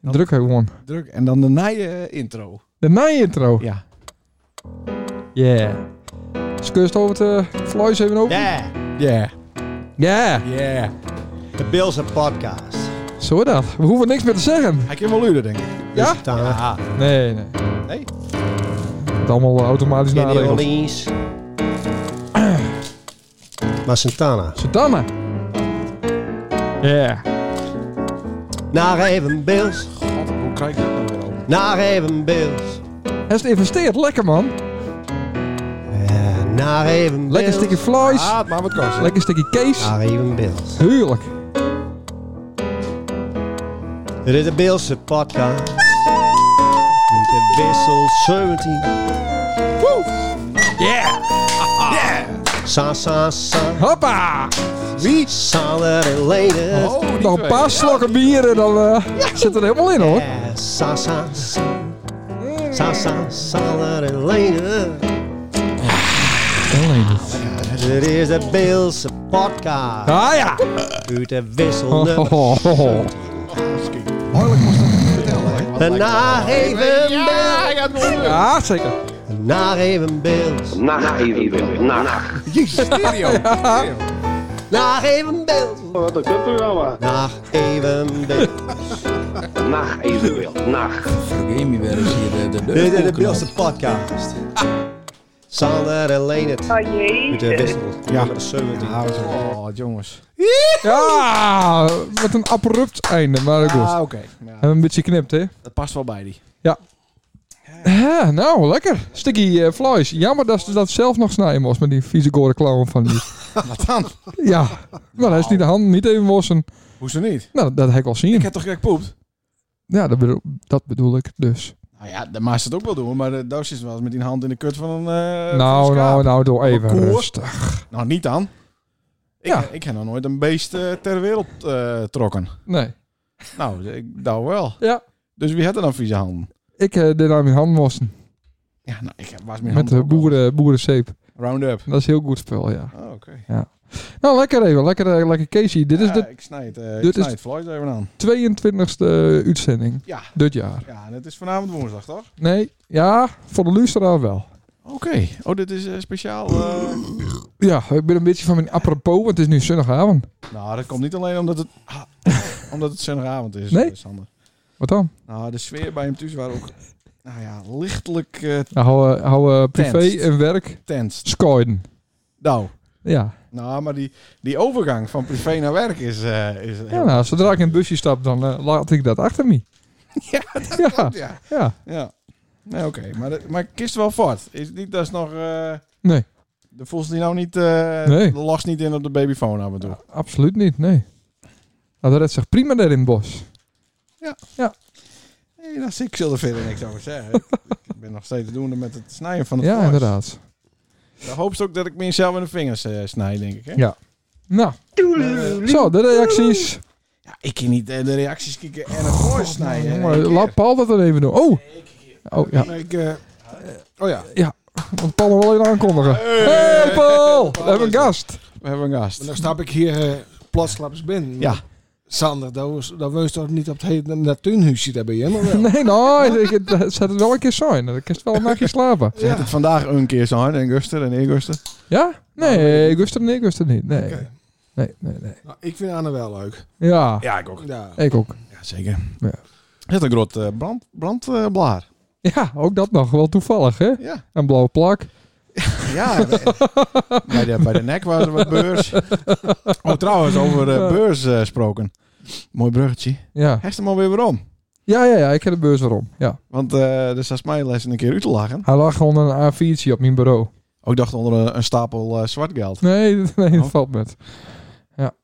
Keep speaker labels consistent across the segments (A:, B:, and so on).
A: Dan- Druk gewoon.
B: Druk. En dan de nije intro.
A: De na-intro.
B: Ja.
A: Yeah. Dus kun je het over de Floys even open?
C: Yeah,
B: Yeah.
A: Ja.
B: Yeah.
C: de Bills een podcast.
A: Zo is dat. We hoeven niks meer te zeggen.
B: Hij kan wel luiden, denk ik.
A: Ja?
C: Dus dan
B: Ja.
A: Nee, nee.
C: Nee?
A: Het allemaal eh, automatisch
C: Kenny
A: naregelen.
C: Orleans. Maar Santana.
A: Zodanig. Yeah.
C: Naar even Bills.
B: God, hoe krijg ik dat nou weer over?
C: Naar even Bills.
A: Hij is geïnvesteerd. Lekker, man.
C: Ja, Eh, naar even Bills.
A: Lekker stukje Floys.
B: Ah, maar wat kost het?
A: Lekker stukje Kees.
C: Naar even Bills.
A: Heerlijk.
C: Dit is de Beelse podcast. Met de wissel 17.
A: Yeah.
C: Sa, sa, sa.
A: Hoppa.
C: Wie? Sander en Lene.
B: Oh, die
A: Nog een
B: twee.
A: paar slokken bier en dan eh, zit er helemaal in, hoor.
C: Ja, Eh, Sa, sa, sa. Sa, sa, Sander en Lene. Dit is de Beelse podcast.
A: Ah ja.
C: Uit de wissel
A: Oh,
C: nummer
A: oh, oh.
C: Naar even
B: Ja,
C: Bills.
B: hij gaat wel luiden.
A: Ja, zeker.
C: Naar even Bills.
D: Nacht even, nacht.
B: Jezus, stereo. Stereo.
C: Naar even Bills.
D: Wat een kutprogramma.
C: Naar even Bills.
D: Nacht even, nacht.
E: Vergeet me weer eens hier de, de deur.
C: Dit is de
E: opknapt.
C: Beelse podcast. Sander en Lene.
F: Oh
C: Uit de
F: jee.
C: wissel
B: Ja.
C: nummer 17.
B: Ja, wat- Oh, jongens.
A: Ja, met een abrupt einde, maar dat goed.
B: Ah, oké. Ja,
A: Hebben we een beetje geknipt, hè?
B: dat past wel bij die.
A: Ja, nou, lekker. Sticky eh flies. Jammer dat ze dat zelf nog snijden moest met die vieze gore clown van die.
B: Wat dan?
A: ja, maar hij is niet de hand, niet even mossen.
B: Hoezo niet?
A: Nou, dat heb ik al
B: Ik
A: zien.
B: heb toch gek poept?
A: Ja, dat bedoel, dat bedoel ik dus.
B: Nou ja, de maas het ook wel doen, maar de doos is wel eens met die hand in de kut van een. eh, van
A: nou, nou,
B: een schaap.
A: nou, doe even
B: Koor.
A: rustig.
B: Nou, niet dan. Ik,
A: Ja.
B: ik heb nog nooit een beest eh, ter wereld eh trokken.
A: Nee.
B: Nou, ik nou wel.
A: Ja.
B: Dus wie had er dan vieze handen?
A: Ik eh deed aan mijn hand mossen.
B: Ja, nou, ik heb- was
A: Met
B: mijn handen
A: de
B: ook wel.
A: boeren, boerenzeep.
B: Round-up.
A: Dat is heel goed spul, ja.
B: Oh, oké.
A: Nou, lekker even. Lekker, eh, lekker Casey. Dit is
B: Ja,
A: de
B: Ik snijd, eh
A: dit
B: ik
A: is-
B: snijd Floyd even aan.
A: 22e eh, uitzending
B: Ja.
A: dit jaar.
B: Ja, en het is vanavond woensdag, toch?
A: Nee, ja, voor de luisteraar wel.
B: Oké. Oh, dit is eh, speciaal. eh,
A: Ja, ik ben een beetje van mijn apropos, want het is nu zondagavond.
B: Nou, dat komt niet alleen omdat het, ah, omdat het zondagavond is,
A: Nee.
B: eh, Sander.
A: Wat dan?
B: Nou, de sfeer bij hem thuis was ook nou ja, lichtelijk eh
A: Nou, hou, eh, hou eh, privé
B: Tenst.
A: en werk
B: tens.
A: skoiden.
B: Nou,
A: Ja.
B: nou, maar die, die overgang van privé naar werk is... eh, is
A: ja, nou, zodra ik in het busje stap, dan eh, laat ik dat achter me.
B: Ja,
A: ja,
B: Ja,
A: ja.
B: ja. Nee, oké. Maar, dat- maar kist wel voort. Is het niet dat is nog... eh
A: Nee.
B: De voelt die nou niet... eh
A: Nee.
B: de last niet in op de babyfoon af en toe.
A: absoluut niet, nee. Nou, dat redt zich prima daar in het bos.
B: Nee, dat zie ik zullen verder niks over zeggen. ik ik ben nog steeds doende met het snijden van het
A: Ja,
B: vlees.
A: inderdaad.
B: Dan hoop ze ook dat ik mezelf in de vingers eh, snij, denk ik. Hè?
A: Nou, zo, de reacties.
B: Ja, ik kan niet eh, de reacties kijken en het voice snijden.
A: Oh,
B: in
A: Jongen,
B: één keer.
A: laat Paul dat dan even doen. Oh! Oh, ja.
B: Ik, eh, oh ja,
A: Want Paul wil even aankondigen. Hey Paul! We hebben een gast.
B: we hebben een gast.
G: Maar dan stap ik hier eh plotsklaps binnen.
B: Ja.
G: Sander, dat woont toch niet op het hele natuurhuisje daar bij je, maar wel.
A: Nee, nou, ik, het het zou het wel een keer zijn. Dan kan je wel een nachtje slapen.
B: Ze heeft het vandaag een keer zo hard en Guster en Eguster.
A: Ja? Nee, ik wist het niet, ik wist het niet. Nee, nee, nee. nee.
G: Nou, ik vind Anne wel leuk.
A: Ja,
B: Ja, ik ook.
G: Ja.
A: ik ook.
B: Ja, zeker.
A: Ja.
B: Het is een groot eh, brand, brandblaar.
A: Ja, ook dat nog. Wel toevallig, hè?
B: ja.
A: Een blauwe plak.
B: Ja, bij de, bij de nek was er wat beurs. Oh, trouwens, over eh, beurs eh, gesproken. Mooi bruggetje.
A: Ja.
B: Hecht hem alweer weer om.
A: ja, ja, ja. Ik heb de beurs erom. Ja.
B: Want eh er staat mijn les een keer uit te lachen.
A: Hij lag onder een A4'tje op mijn bureau.
B: Ook ik dacht onder een, een stapel eh, zwart geld.
A: Nee, nee dat
B: Oh.
A: valt met.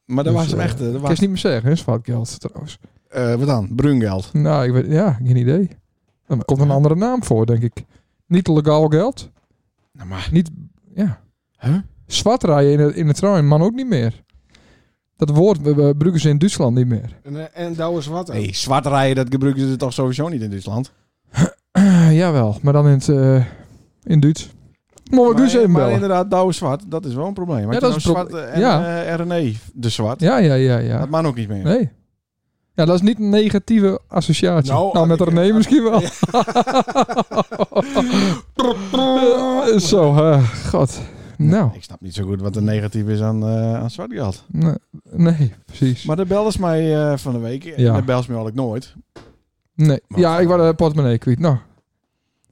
B: Maar dat
A: Dus,
B: was hem
A: eh,
B: echt. eh, Dat
A: Ik kan
B: was,
A: het niet meer zeggen, hè? Zwart geld trouwens.
B: eh, wat dan? Bruin geld.
A: Nou, ik weet, ja, geen idee. Dan komt een andere naam voor, denk ik. Niet legaal geld.
B: Nou, maar
A: Niet, ja.
B: Huh?
A: Zwart rijden in de, in de trein, man, ook niet meer. Dat woord eh, gebruiken ze in Duitsland niet meer.
G: En, eh, en dat is wat ook.
B: Nee, zwart rijden, dat gebruiken ze toch sowieso niet in Duitsland?
A: Ja Eh, jawel, maar dan in, het, eh, in Duits. Mooi Guus
B: maar,
A: even
B: maar
A: bellen.
B: inderdaad, Douwe Zwart, dat is wel een probleem. Want
A: Oh, dus Ja,
B: je
A: dat is een
B: nou Zwart eh, en
A: Ja.
B: eh, René de Zwart,
A: Ja, ja, ja,
B: dat
A: ja.
B: mag ook niet meer.
A: Nee. Ja, dat is niet een negatieve associatie. Nou,
G: Nou,
A: met
G: ik-
A: René misschien wel. Eh, Zo, eh, god. Nou,
B: Ik snap niet zo goed wat er negatief is aan, eh aan Zwartgeld.
A: nee, nee, precies.
B: Maar de belden ze mij eh, van de week.
A: Ja.
B: En de bel ze mij al ik nooit.
A: Nee.
B: Maar-
A: Ja, ik was de portemonnee kwijt. Nou,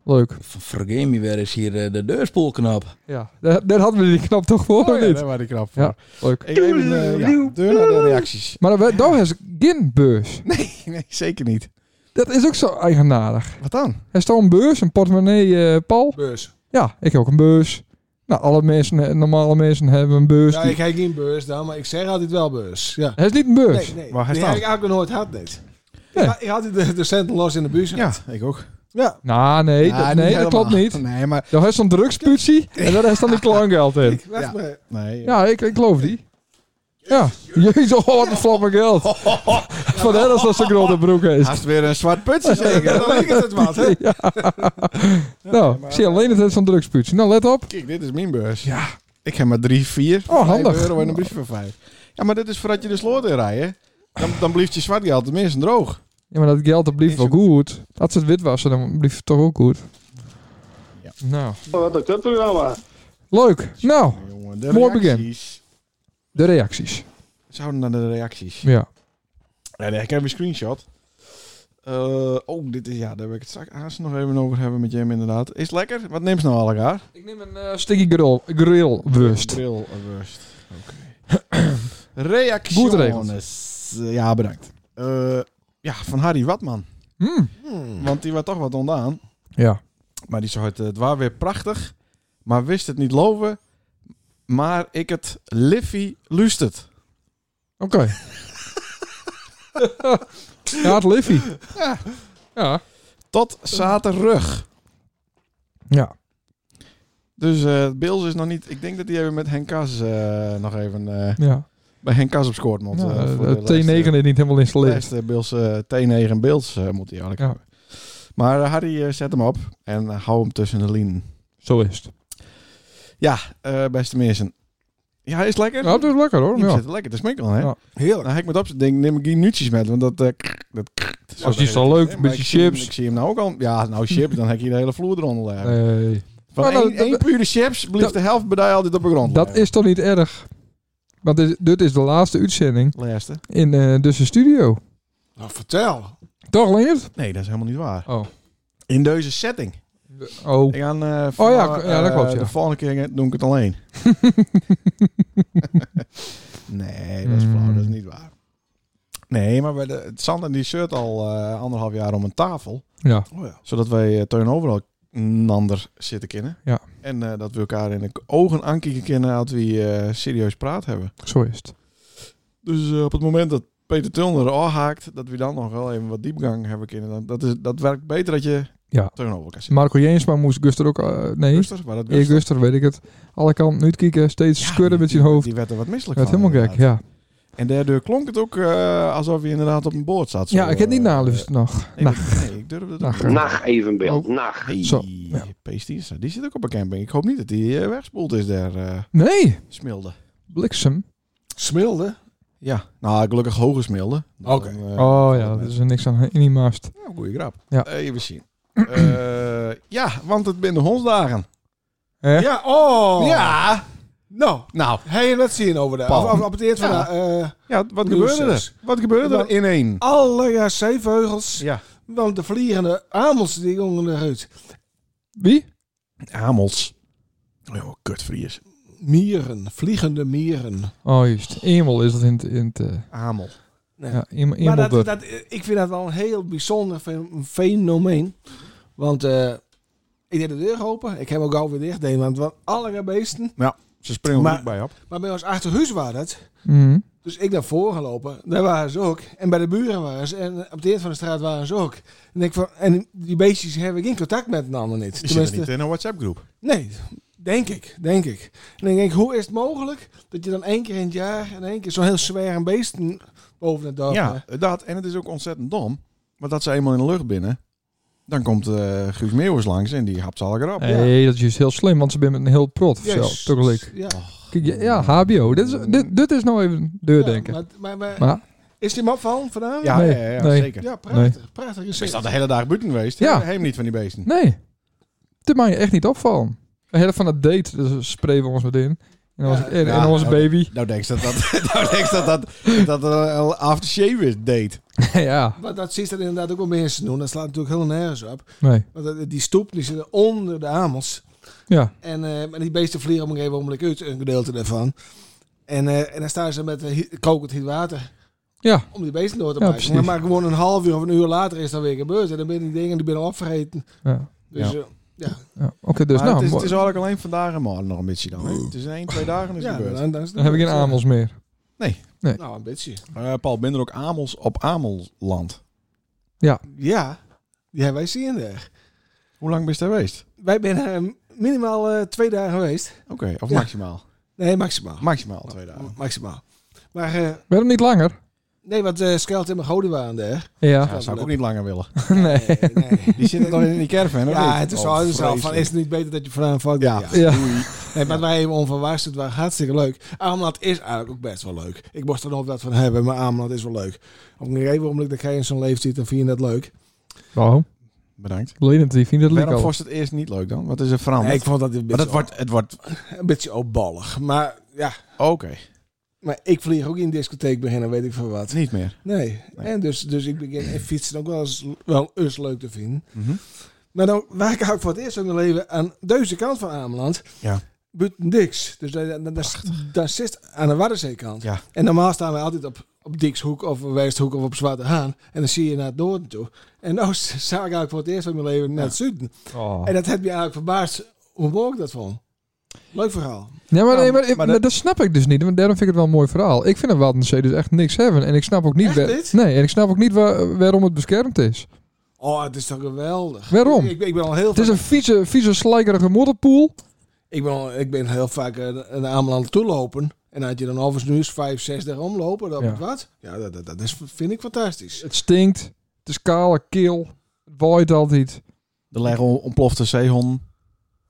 A: leuk.
E: Vergeet me weer eens hier eh, de deurspoelknap.
A: Ja, daar, daar hadden we die knap toch voor, of
B: Oh, ja,
A: niet?
B: daar waren die knap voor.
A: Ja. Leuk.
B: Ik even eh, ja, deur naar de reacties.
A: Maar daar daar is geen beurs.
B: Nee, zeker niet.
A: Dat is ook zo eigenaardig.
B: Wat dan?
A: Er staat een beurs, een portemonnee, eh Paul.
G: Beurs.
A: Ja, ik heb ook een beurs. Nou, alle mensen, eh, normale mensen hebben een beurs.
G: Ja,
A: die-
G: ik heb geen beurs dan, maar ik zeg altijd wel beurs. Ja.
A: Hij is niet een beurs.
G: Nee, nee.
B: Waar hij
G: die
B: staat.
G: heb ik eigenlijk nooit had net.
A: Nee.
G: Ik, ha- ik had die de, de centen los in de buurt.
B: Ja, ik ook.
G: ja.
A: Nou, nee,
B: Ja,
A: dat,
B: niet
A: nee, dat
B: helemaal.
A: klopt niet.
B: Nee, maar...
A: Daar is zo'n drugsputie en daar is dan die kleingeld in.
G: Ik wacht maar.
B: Nee,
A: Ja, ik, ik geloof die. Ja. Jezus, oh, wat een flamme geld. Van dat is dat zo'n grote broek is.
B: Haast weer een zwart putje
G: Ja,
B: zeker.
G: dan weet ik het wat, hè?
A: Nou, ik zie alleen dat het zo'n drugsputie. Nou, let op.
B: Kijk, dit is mijn beurs. Ja. Ik heb maar drie, vier,
A: Oh,
B: vijf
A: handig.
B: euro en een briefje van vijf. Ja, maar dit is voordat je de sloot in rijdt. Dan, dan blijft je zwart geld tenminste droog.
A: Ja, maar dat geld, dat blijft wel goed. Als het wit was, dan blijft het toch ook goed.
B: Ja.
A: Nou,
D: Oh, Wat een kutprogramma.
A: leuk. Nou,
B: Jongen, de
A: Mooi begin.
B: reacties.
A: de reacties.
B: Zouden naar de reacties.
A: Ja.
B: Ja, nee, ik heb een screenshot. Eh, oh, dit is ja, daar wil ik het straks haast nog even over hebben met Jim inderdaad. Is het lekker? Wat neemt ze nou al elkaar?
A: Ik neem een eh sticky grill, grillwurst.
B: Bril worst. Oké. Reacties.
A: Goed geregeld.
B: Eh, Ja, bedankt. Eh, ja, van Harry Watman.
A: Mm.
B: Want die was toch wat ondaan.
A: Ja.
B: Maar die zei het, eh, het was weer prachtig. Maar wist het niet loven. Maar ik het Liffy lustert.
A: Oké. ja, het Liffy. Ja.
B: Tot zaterdag.
A: Ja.
B: Dus eh Bills is nog niet... Ik denk dat hij even met Henk Kas eh, nog even... eh,
A: Ja.
B: bij Henk Kas op scoort moet.
A: Ja,
B: eh, voor
A: de
B: de
A: T9 is
B: lijst, eh,
A: niet helemaal geïnstalleerd.
B: lijst, eh, Bills, eh, T9 en Bills eh, moet hij eigenlijk
A: Ja.
B: hebben. Maar eh, Harry eh, zet hem op. En eh, hou hem tussen de linen.
A: Zo is het.
B: Ja, eh, beste mensen. Ja, hij is lekker.
A: Ja, dat is lekker hoor.
B: Die
A: Ja.
B: zit lekker te smikkelen, hè?
A: Ja.
G: Heerlijk.
B: Nou, hek met op zijn ding, neem ik die nutjes met, want dat... eh, krrr, dat, krrr, dat
A: Als die
B: zo
A: is al leuk,
B: hè,
A: een
B: maar
A: beetje
B: ik zie hem-
A: chips.
B: Ik zie hem nou ook al... Ja, nou chips, dan heb je de hele vloer eronder liggen.
A: Nee.
B: Van
A: Maar
B: één,
A: nou, dat-
B: één pure chips blijft de helft bij altijd op de grond
A: Dat is toch niet erg? Want dit, dit is de laatste uitzending
B: Laatste.
A: in eh dus de studio.
G: Nou, vertel.
A: Toch, Leonard?
B: Nee, dat is helemaal niet waar.
A: Oh.
B: In deze setting.
A: Oh.
B: Ik ga, eh,
A: Oh ja,
B: voor,
A: ja, dat
B: eh,
A: klopt, ja.
B: De volgende keer doe ik het alleen. nee, dat is
A: Mm.
B: flauw. Dat is niet waar. Nee, maar bij de, Sander die shirt al eh, anderhalf jaar om een tafel.
A: Ja.
G: Oh ja.
B: Zodat wij eh, teun overal een ander zitten kennen.
A: Ja.
B: En eh, dat we elkaar in de k- ogen aankijken kennen als we eh, serieus praat hebben.
A: Zo is het.
B: Dus eh, op het moment dat Peter Tulner er haakt, dat we dan nog wel even wat diepgang hebben kunnen. Dan, dat, is, dat werkt beter dat je
A: Ja.
B: teun over kan zitten.
A: Marco Jeensma moest Guster ook... eh, nee,
B: Rustig, maar dat
A: Eer Guster, weet ik het. Alle kanten uitkijken, steeds
B: Ja,
A: schudden
B: die-
A: met
B: die-
A: zijn hoofd.
B: Die werd er wat misselijk
A: Werd
B: van.
A: helemaal gek,
B: inderdaad.
A: ja.
B: En daardoor klonk het ook eh, alsof je inderdaad op een boord zat.
A: Ja,
B: Zo,
A: ik heb niet
B: eh,
A: naluisterd nog.
B: nee,
A: Nou,
B: dat- nee, ik durfde dat
A: Nacht.
B: ook niet.
D: Nacht evenbeeld.
A: Oh.
D: Nacht.
B: Hey,
A: Zo, ja.
B: ja. die zit ook op een camping. Ik hoop niet dat die eh, wegspoeld is daar, eh,
A: nee,
B: Smilde.
A: bliksem.
G: Smilde.
B: Ja, nou, gelukkig hoge Smilde. Dan,
G: Oké.
B: eh,
A: Oh ja, dat is er niks aan in die mast.
B: nou, goeie grap.
A: Ja.
B: Eh, even zien. Eh, ja, want het zijn de hondsdagen.
A: Hè?
G: Ja, oh.
B: Ja,
G: Nou,
B: nou.
G: hé, hey, wat zie je over daar?
B: Paul.
G: Of, of op het eerst van
B: Ja.
G: de, eh,
B: Ja, wat
G: Nieuws
B: gebeurde er?
G: zes.
B: Wat gebeurde er in één?
G: alle ja, zeeveugels.
B: Ja.
G: Want de vliegende amels die jongen eruit.
A: Wie?
B: Hamels. Oh, kutvries.
G: Mieren, vliegende mieren.
A: Oh, juist. Emel is dat in het... In het eh,
B: Hamel.
A: ja, Emel,
G: Maar
A: Emel
G: dat, dat, ik vind dat wel een heel bijzonder fe- fenomeen. Want eh, ik deed de deur open. Ik heb hem ook alweer dicht deed, want van alle beesten.
B: Ze springen er
G: Maar-
B: niet bij op.
G: Maar bij ons achterhuis was dat.
A: Mhm.
G: Dus ik naar voren gelopen. Daar waren ze ook. En bij de buren waren ze. En op de eerd van de straat waren ze ook. En, ik van, en die beestjes hebben geen contact met een ander niet.
B: Die zitten niet in een WhatsApp-groep.
G: Nee, denk ik, denk ik. En dan denk ik, hoe is het mogelijk dat je dan één keer in het jaar en één keer zo'n heel zwaar een beest boven het dorp...
B: Ja, dat. En het is ook ontzettend dom. Want dat ze eenmaal in de lucht binnen, dan komt eh Guus Meeuwers langs en die hapt ze al erop.
A: Nee, dat is juist heel slim, want ze zijn met een heel prot
G: eh,
A: zelf, tegelijk.
G: Ja,
A: Kijk, Ja, HBO. Dit is, dit, dit is nou even
G: ja,
A: deurdenken.
G: maar, maar, maar
A: maar
G: Is die map van vanavond?
B: Ja,
A: Nee,
B: ja, ja,
A: nee.
B: zeker.
G: Ja, prachtig. Prachtig
B: Ik ben
G: gezicht.
B: al de hele dag buiten geweest.
A: Ja.
B: Ja. Heem niet van die beesten.
A: Nee. Dit mag je echt niet opvallen. De hele van dat date dus sprayen we ons met in. En onze, en,
B: ja,
A: en onze
B: ja.
A: baby.
B: Nou denk je dat dat, nou denk je dat, dat, dat er een aftershave is, date.
A: ja,
G: Maar dat zit er inderdaad ook wel mensen doen. Dat slaat natuurlijk helemaal nergens op.
A: nee.
G: Want dat- die stoep die zit onder de amels.
A: Ja,
G: En, eh, maar die beesten vliegen om een gegeven moment uit, een gedeelte daarvan. En, eh, en dan staan ze met eh, hi- kokend heet water
A: ja.
G: om die beesten door te
A: Ja,
G: maken.
A: precies.
G: maar, maar gewoon een half uur of een uur later is dat weer gebeurd. En dan ben die dingen die ben al opvergeten.
A: ja.
G: Dus
B: Ja.
G: eh, ja,
A: ja. Oké, dus
B: Maar
A: nou,
B: het, is,
A: mooi.
B: het is eigenlijk alleen vandaag en morgen nog een beetje dan. Hè? Het is in één, twee dagen is
G: ja,
B: het gebeurd.
G: dan, dan is het
A: dan heb ik geen
G: gebeurd.
A: amels meer.
G: Nou, een beetje.
B: Eh, Paul, ben er ook Amels op Amelland?
G: Ja, die hebben wij zien daar.
B: Hoe lang ben je daar geweest?
G: Wij zijn er minimaal eh, twee dagen geweest.
B: Oké, of
G: Ja.
B: maximaal?
G: Nee, maximaal.
B: Maximaal twee dagen.
G: Maximaal. Maar eh,
A: Waarom niet langer?
G: nee, want eh Skelt en Goden waren daar.
A: Ja,
B: Ja, zou ik ook niet langer willen.
A: nee.
G: nee.
B: Die zitten nog in die caravan, of
G: Ja,
B: niet?
G: het is
B: Oh,
G: al, het is al van,
B: vreselijk.
G: is het niet beter dat je vandaan valt?
B: Ja.
A: Ja.
G: Nee, maar wij even onverwachts, het was hartstikke leuk. Ameland is eigenlijk ook best wel leuk. Ik moest er nog wat van hebben, maar Ameland is wel leuk. Op een gegeven moment dat je in zo'n leeftijd, dan vind je dat leuk.
A: Waarom?
B: Bedankt.
A: Lenend, die vindt het leuk
B: Waarom
A: al.
B: was het eerst niet leuk dan? Wat is er veranderd?
G: Nee, ik vond dat een
B: maar
G: beetje,
B: dat wordt, het wordt...
G: een beetje opballig. Maar ja,
B: Oké,
G: maar ik vlieg ook in een discotheek beginnen, weet ik veel wat.
B: niet meer.
G: Nee, en dus, dus ik begin en fietsen ook wel eens, wel eens leuk te vinden.
B: Mhm.
G: Maar Nou, dan waar ik ook voor het eerst in mijn leven aan deze kant van Ameland.
B: Ja.
G: Buiten Dix. Dus daar, daar, daar- daar zit aan de Waddenzeekant.
B: Ja.
G: En normaal staan we altijd op, op Dixhoek of Westhoek of op Zwarte Haan. En dan zie je naar het noorden toe. En nou s- zag ik eigenlijk voor het eerst in mijn leven naar het zuiden.
A: Oh.
G: En dat heb je eigenlijk verbaasd hoe mooi ik dat vond. Leuk verhaal.
A: Nee, maar,
B: Ja,
A: nee, maar,
B: maar
A: dat...
B: dat-
A: snap ik dus niet. Want daarom vind ik het wel een mooi verhaal. Ik vind het Waddenzee dus echt niks hebben. En ik snap ook niet,
G: Echt
A: waar-
G: niet?
A: nee, en ik snap ook niet waar- waarom het beschermd is.
G: Oh, het is toch geweldig.
A: Waarom?
G: Ik, ik ben al heel
A: Het is
G: vaak,
A: een vieze, vieze slijkerige modderpoel.
G: ik ben, al- ik ben heel vaak eh, naar Ameland toe lopen. En dan had je dan overigens nu eens vijf, zes daar omlopen. Dat
A: Ja.
G: het wat. Ja, dat, dat, dat is, vind ik fantastisch.
A: Het stinkt. Het is kale keel. Het waait altijd.
B: Er liggen on- ontplofte zeehonden.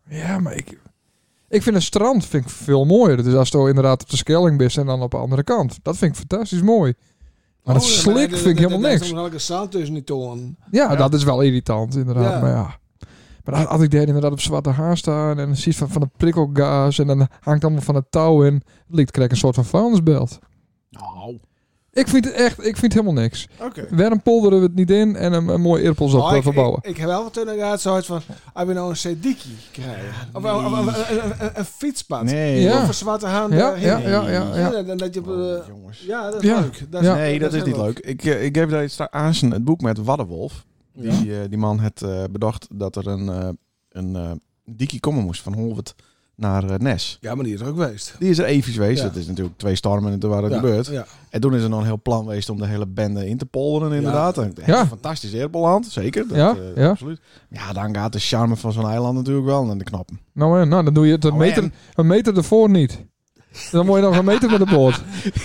A: Ja, maar ik... Ik vind een strand vind ik veel mooier. Dus als je inderdaad op de Schelling bent en dan op de andere kant. Dat vind ik fantastisch mooi. Maar het
G: Oh, ja,
A: slik
G: maar
A: vind ik
G: dat-
A: helemaal
G: dat-
A: niks.
G: Dat is elke zand tussen die toren.
A: Ja, dat is wel irritant inderdaad.
G: Ja.
A: Maar ja. Maar als- als ik daar inderdaad op zwarte haar staan en dan zie je van, van de prikkelgaas en dan hangt allemaal van het touw in. Het lijkt krijg ik een soort van vuilnisbelt.
B: Nou.
A: Ik vind het echt, ik vind helemaal niks.
G: Oké. Oh,
A: Waarom polderen we het niet in en een, een mooi irpels op eh, verbouwen?
G: Ik, ik, ik heb wel wat toen inderdaad zoiets van, als we nou een sediki krijgen. Of, of- of- of- een, een, een, een fietspad.
B: Nee.
A: Ja.
G: Of een zwarte haan
A: ja,
G: daarheen.
A: ja, ja, ja, ja.
G: dan- dat je, op,
B: Oh,
G: eh,
B: jongens.
G: ja, dat is
A: Ja.
G: leuk. Dat
A: Ja.
B: Nee, dat is niet
G: heel
B: leuk. Ik, eh, ik geef daar iets aan het boek met Waddenwolf.
G: Ja.
B: Die, eh, die man had eh, bedacht dat er een, eh een eh, dikkie komen moest van Holwert naar eh, Nes.
G: Ja, maar die is er ook geweest.
B: Die is er even geweest.
G: Ja.
B: Dat is natuurlijk twee stormen en toen waren het
G: ja.
B: gebeurd.
G: Ja.
B: En toen is er nog een heel plan geweest om de hele bende in te polderen inderdaad. En, eh,
A: Ja.
B: Fantastisch Erpeland, zeker. Dat,
A: Ja,
B: eh,
A: ja.
B: Absoluut. ja, dan gaat de charme van zo'n eiland natuurlijk wel en de knappen.
A: Nou, eh, nou, dan doe je het een
B: Oh,
A: meter,
B: en?
A: een meter ervoor niet. Dan moet je nog een meter met de boord.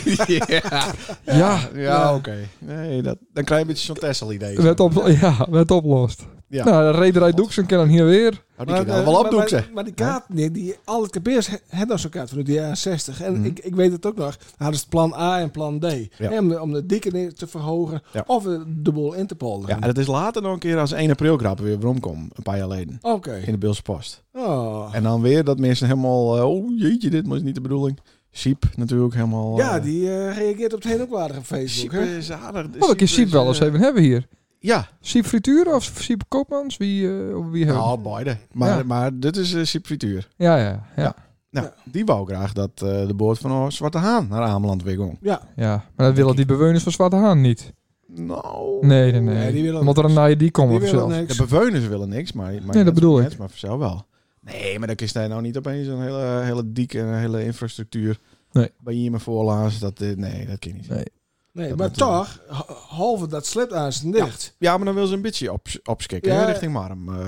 B: ja,
A: Ah, Ja,
B: ja oké. Nee, dat, dan krijg je een beetje zo'n Tessel-idee.
A: werd, op, ja, werd oplost.
B: Ja.
A: Nou, de rederij Doeksen kan dan hier weer.
B: Oh, die kan je dan
G: eh,
B: wel
G: maar-
B: opdoeken,
G: maar,
B: zeg.
G: maar die kaart, nee, die, al het kapeers hebben nog zo'n kaart vanuit de jaren 60. En
B: Mhm.
G: ik, ik weet het ook nog. Dan hadden ze plan A en plan D. Hè, om, de, om de dikke neer te verhogen
B: Ja.
G: of eh, de boel in te polderen.
B: Ja, en dat is later nog een keer als 1 april grappen weer weer kom een paar jaar geleden.
G: Oké.
B: In de Beelse Post.
G: Oh.
B: En dan weer dat mensen helemaal, eh, oh jeetje, dit was niet de bedoeling. Siep natuurlijk helemaal.
G: Ja,
B: eh,
G: die eh, reageert op het heen ook waardig op
B: Siep
G: Facebook.
B: eh,
G: hè?
B: is aardig.
A: Oh, ik
B: is,
A: Siep wel eens
B: eh,
A: even hebben hier.
B: Ja,
A: Siep Frituur of Siep Koopmans? Wie, eh, of wie hebben we?
B: nou, beide. Maar,
A: Ja.
B: maar dit is eh, Siep frituur.
A: Ja, ja, ja,
B: Nou,
G: Ja.
B: die wou graag dat eh, de boot van een Zwarte Haan naar Ameland weer ging.
G: Ja,
A: ja. Maar dat willen die bewoners van Zwarte Haan niet.
B: Nou.
A: Nee, nee, nee.
G: Nee, die willen
A: Omdat er een naaie die komen
G: die
A: of
G: wil
A: zo.
B: De
G: niks.
B: bewoners willen niks, maar... maar
A: dat
B: net-
A: bedoel
B: net,
A: ik.
B: Maar voor zelf wel. Nee, maar dan is hij nou niet opeens een hele, hele dieke en een hele infrastructuur.
A: Nee.
B: Bij hier mijn voorlaas. Dat, eh, nee, dat kan niet.
A: Nee.
G: Nee,
B: Dat
G: maar
B: natuurlijk.
G: toch, ha- halve dat slipt aan zijn dicht.
B: Ja, maar dan wil ze een beetje op, opskikken
G: Ja.
B: hè, richting Marm. eh,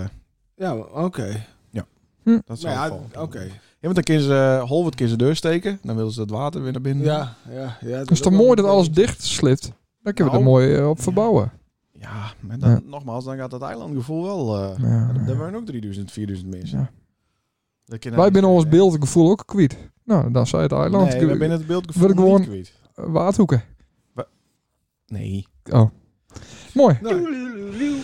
G: Ja, oké.
B: dat zou
G: Nou ja,
B: wel-
G: oké.
B: Ja, want dan kunnen ze uh, Holwert kunnen ze deur steken. Dan willen ze dat water weer naar binnen.
G: Ja, ja, ja.
A: Het is toch mooi dat alles dicht slipt? Daar kunnen we er
B: Nou.
A: mooi eh, op verbouwen.
B: Ja, maar dan,
A: Ja.
B: nogmaals, dan gaat dat eilandgevoel wel... eh
A: Ja, ja.
B: Daar waren ook 3000, 4000 mensen.
A: Ja.
B: Dat kunnen
A: Wij
B: niet
A: binnen ons
B: zeggen.
A: beeldgevoel ook kwijt. Nou, dan zei het eiland.
B: Nee, wij binnen het beeld
A: wil ik
B: gewoon...
A: gewoon- Waardhoeken.
B: Nee.
A: Oh. Mooi.
G: Nou,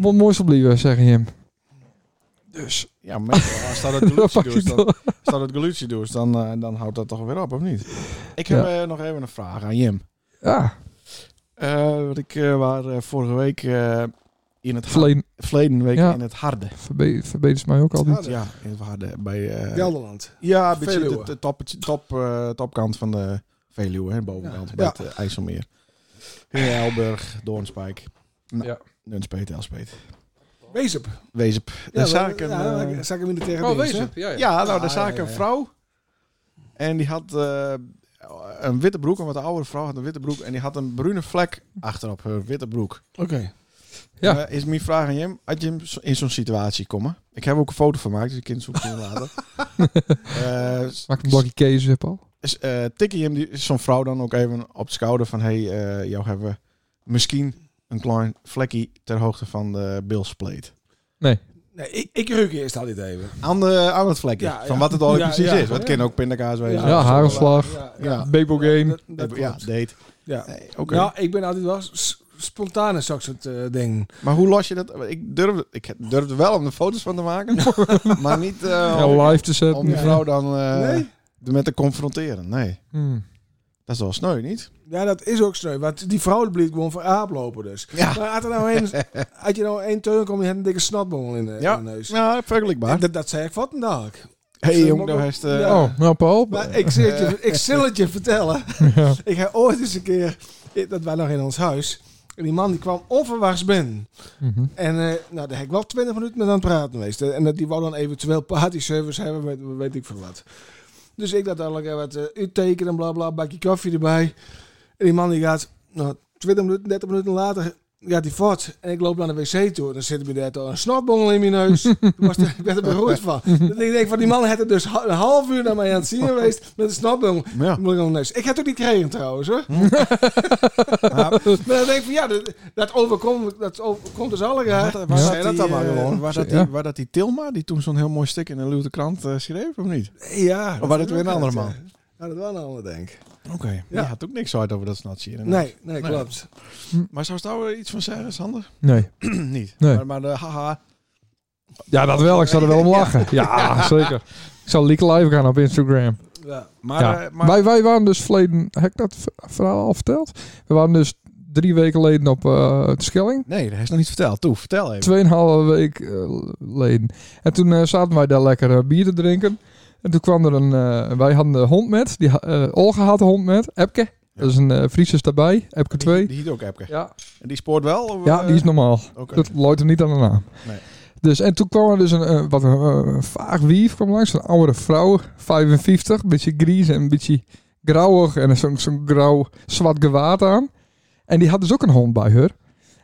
A: Wat moois blijven, zeggen hem. Dus.
B: Ja, maar als dat het
A: dat
B: glutje
A: pak je
B: doet, dan,
A: door.
B: als dat het glutje doet, dan, eh, dan houdt dat toch weer op, of niet? Ik heb eh, nog even een vraag aan Jim.
A: Ja,
B: Eh, wat ik eh, waar eh, vorige week eh, in het har-
A: verleden
B: verleden week
A: Ja.
B: in het harde.
A: verbe- verbetert ze mij ook altijd.
G: Harde.
B: Ja, in het harde bij eh,
G: Gelderland.
B: ja, een beetje de,
G: Veluwe.
B: de top, top, eh, topkant van de Veluwe, hè, bovenkant
G: Ja.
B: bij
G: Ja.
B: het eh, IJsselmeer. In Elburg, Doornspijk, nou,
A: Ja.
B: Nunspeet, Elspet,
G: Wees op.
B: Weezep. daar zag ik een,
G: ja,
B: eh,
G: daar zag ik hem in de tegen.
A: Oh, Ja, ja.
B: ja, nou, daar
G: Ah,
B: zag
G: ja,
B: ik een
G: ja.
B: vrouw en die had eh, een witte broek, een wat oudere vrouw had een witte broek en die had een bruine vlek achter op haar witte broek.
G: Oké.
A: Ja.
B: Eh, is mijn vraag aan Jim. Had Jim zo- in zo'n situatie komen? Ik heb ook een foto van gemaakt, dus ik kan het zoeken voor je later. Eh, s-
A: Maak een blokje kees op al.
B: s- eh, tikken Jim die- zo'n vrouw dan ook even op de schouder van... Hey, eh, jou hebben we misschien een klein vlekje ter hoogte van de bilspleet.
G: Nee, ik, ik ruik eerst altijd even.
B: Aan, de, aan het vlekje,
G: Ja,
B: van
G: ja.
B: wat het al
G: Ja,
B: precies
G: ja,
B: is. Wat
G: ja.
B: kan ook pindakaas wezen.
A: Ja, hagelslag.
G: Ja,
B: Ja.
A: Babel game.
G: Dat, dat
B: ja,
G: klopt.
B: date.
G: Ja.
B: Nee, oké.
G: Nou, ik ben altijd wel s- spontane zo'n soort eh, ding.
B: Maar hoe los je dat? Ik durfde, ik durfde wel om er foto's van te maken, maar niet eh, om,
A: Ja, live te zetten.
B: om die vrouw dan eh,
G: Nee?
B: met te confronteren. Nee.
A: Hmm.
B: Dat is wel sneu, niet?
G: Ja, dat is ook sneu. Want die vrouw bleef gewoon voor aap lopen dus.
B: Ja.
G: Maar had, er nou een, had je nou één teun kom je had een dikke snotbongel in de,
B: Ja.
G: in de neus.
B: Ja, vergelijkbaar.
G: Dat, dat zei ik wat een dag.
B: hey,
G: Ze
B: jong,
G: mogen-
B: daar heeft... eh,
G: Ja.
A: Oh, nou Paul.
G: Maar ik, zal het je, ik zal het je vertellen.
A: Ja.
G: Ik heb ooit eens een keer, dat wij nog in ons huis. En die man die kwam onverwachts binnen.
A: Mhm.
G: En eh, nou, daar heb ik wel 20 minuten met aan het praten geweest. En dat die wou dan eventueel partyservice hebben, weet, weet ik veel wat. Dus ik dat eigenlijk wat eh, uittekenen, bla bla, bakje koffie erbij. En die man die gaat, nou, 20 minuten, 30 minuten later gaat hij voort. En ik loop naar de wc toe. En dan zit er bij daar een snotbongel in mijn neus. Toen was er- ik werd er beroerd van. Dus ik denk van, die man had het dus ha- een half uur naar mij aan het zien geweest met een snotbongel.
B: ja.
G: Moet ik nog neus. Ik heb het ook niet gekregen trouwens hoor. Maar dan denk ik van ja, dat, dat overkomt, dat overkomt dus alle graag.
B: Was
A: Ja.
B: dat, die, eh, was dat die,
A: Ja.
B: was dat die Tilma, die toen zo'n heel mooi stuk in de Luwte krant eh, schreef, of niet?
G: Ja.
B: Of was Oh, dat weer een andere man?
G: Ja, Nou, dat wel een ander denk
B: Oké. Die had ook niks hard over dat snatje. hier.
G: Nee, nee,
B: Nee.
G: klopt.
B: Maar zou ze daar wel iets van zeggen, Sander?
A: Nee.
B: niet.
A: Nee.
B: Maar, maar de haha.
A: Ja, dat wel. Ik zou er wel om lachen. Ja, zeker. Ik zal Leak Live gaan op Instagram.
G: Ja.
B: Maar,
A: ja.
B: eh, maar
A: wij, wij waren dus verleden... Heb ik dat v- verhaal al verteld? We waren dus drie weken geleden op eh de Schelling.
B: nee, dat heeft nog niet verteld. Toe, vertel even.
A: Tweeënhalve week eh, geleden. en toen eh, zaten wij daar lekker eh, bier te drinken. En toen kwam er een... eh, wij hadden een hond met. Die, ha- eh, Olga had een hond met. Epke. Dat is een eh Friese daarbij. Epke 2.
B: Die, die hiet ook Epke.
A: Ja,
B: En die spoort wel? of,
A: ja,
B: eh,
A: die is normaal.
B: Oké.
A: Dat loopt er niet aan de naam.
B: Nee.
A: Dus, en toen kwam er dus een, eh, wat een, eh, een vaag wief kwam langs, een oude vrouw, 55, een beetje gries en een beetje grauwig en zo'n zo'n grauw zwart gewaad aan. En die had dus ook een hond bij haar.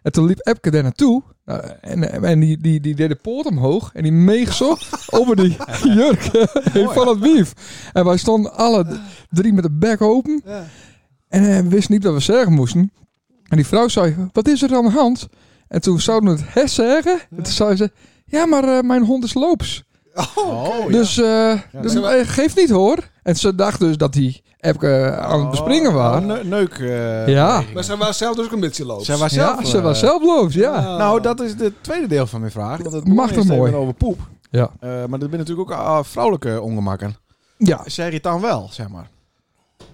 A: En toen liep Epke daar naartoe eh, en, en die, die, die deed de poort omhoog en die meeg zo over die jurk heen van het wief. En wij stonden alle d- drie met de bek open
G: Ja.
A: en eh, we wisten niet wat we zeggen moesten. En die vrouw zei, wat is er aan de hand? En toen zouden we het hè zeggen. En toen zei ze, ja, maar eh, mijn hond is loops.
B: Oh, ja.
A: dus eh, dus,
G: zeg maar-
A: eh, geeft niet hoor. En ze dacht dus dat die Epke eh, aan het
B: Oh,
A: bespringen was.
B: Ne- Neuk. eh,
A: Ja.
G: Maar ze was zelf dus ook een beetje loopt.
B: Zij was zelf,
A: Ja, ze
B: eh,
A: was zelf loops, ja.
G: Ah.
B: Nou, dat is het tweede deel van mijn vraag. Want het
A: Mag
B: begon
A: toch
B: eerst
A: mooi?
B: even over poep.
A: Ja.
B: Eh, maar dat zijn natuurlijk ook ah, vrouwelijke ongemakken.
A: Ja,
B: Zeg je het dan wel, zeg maar?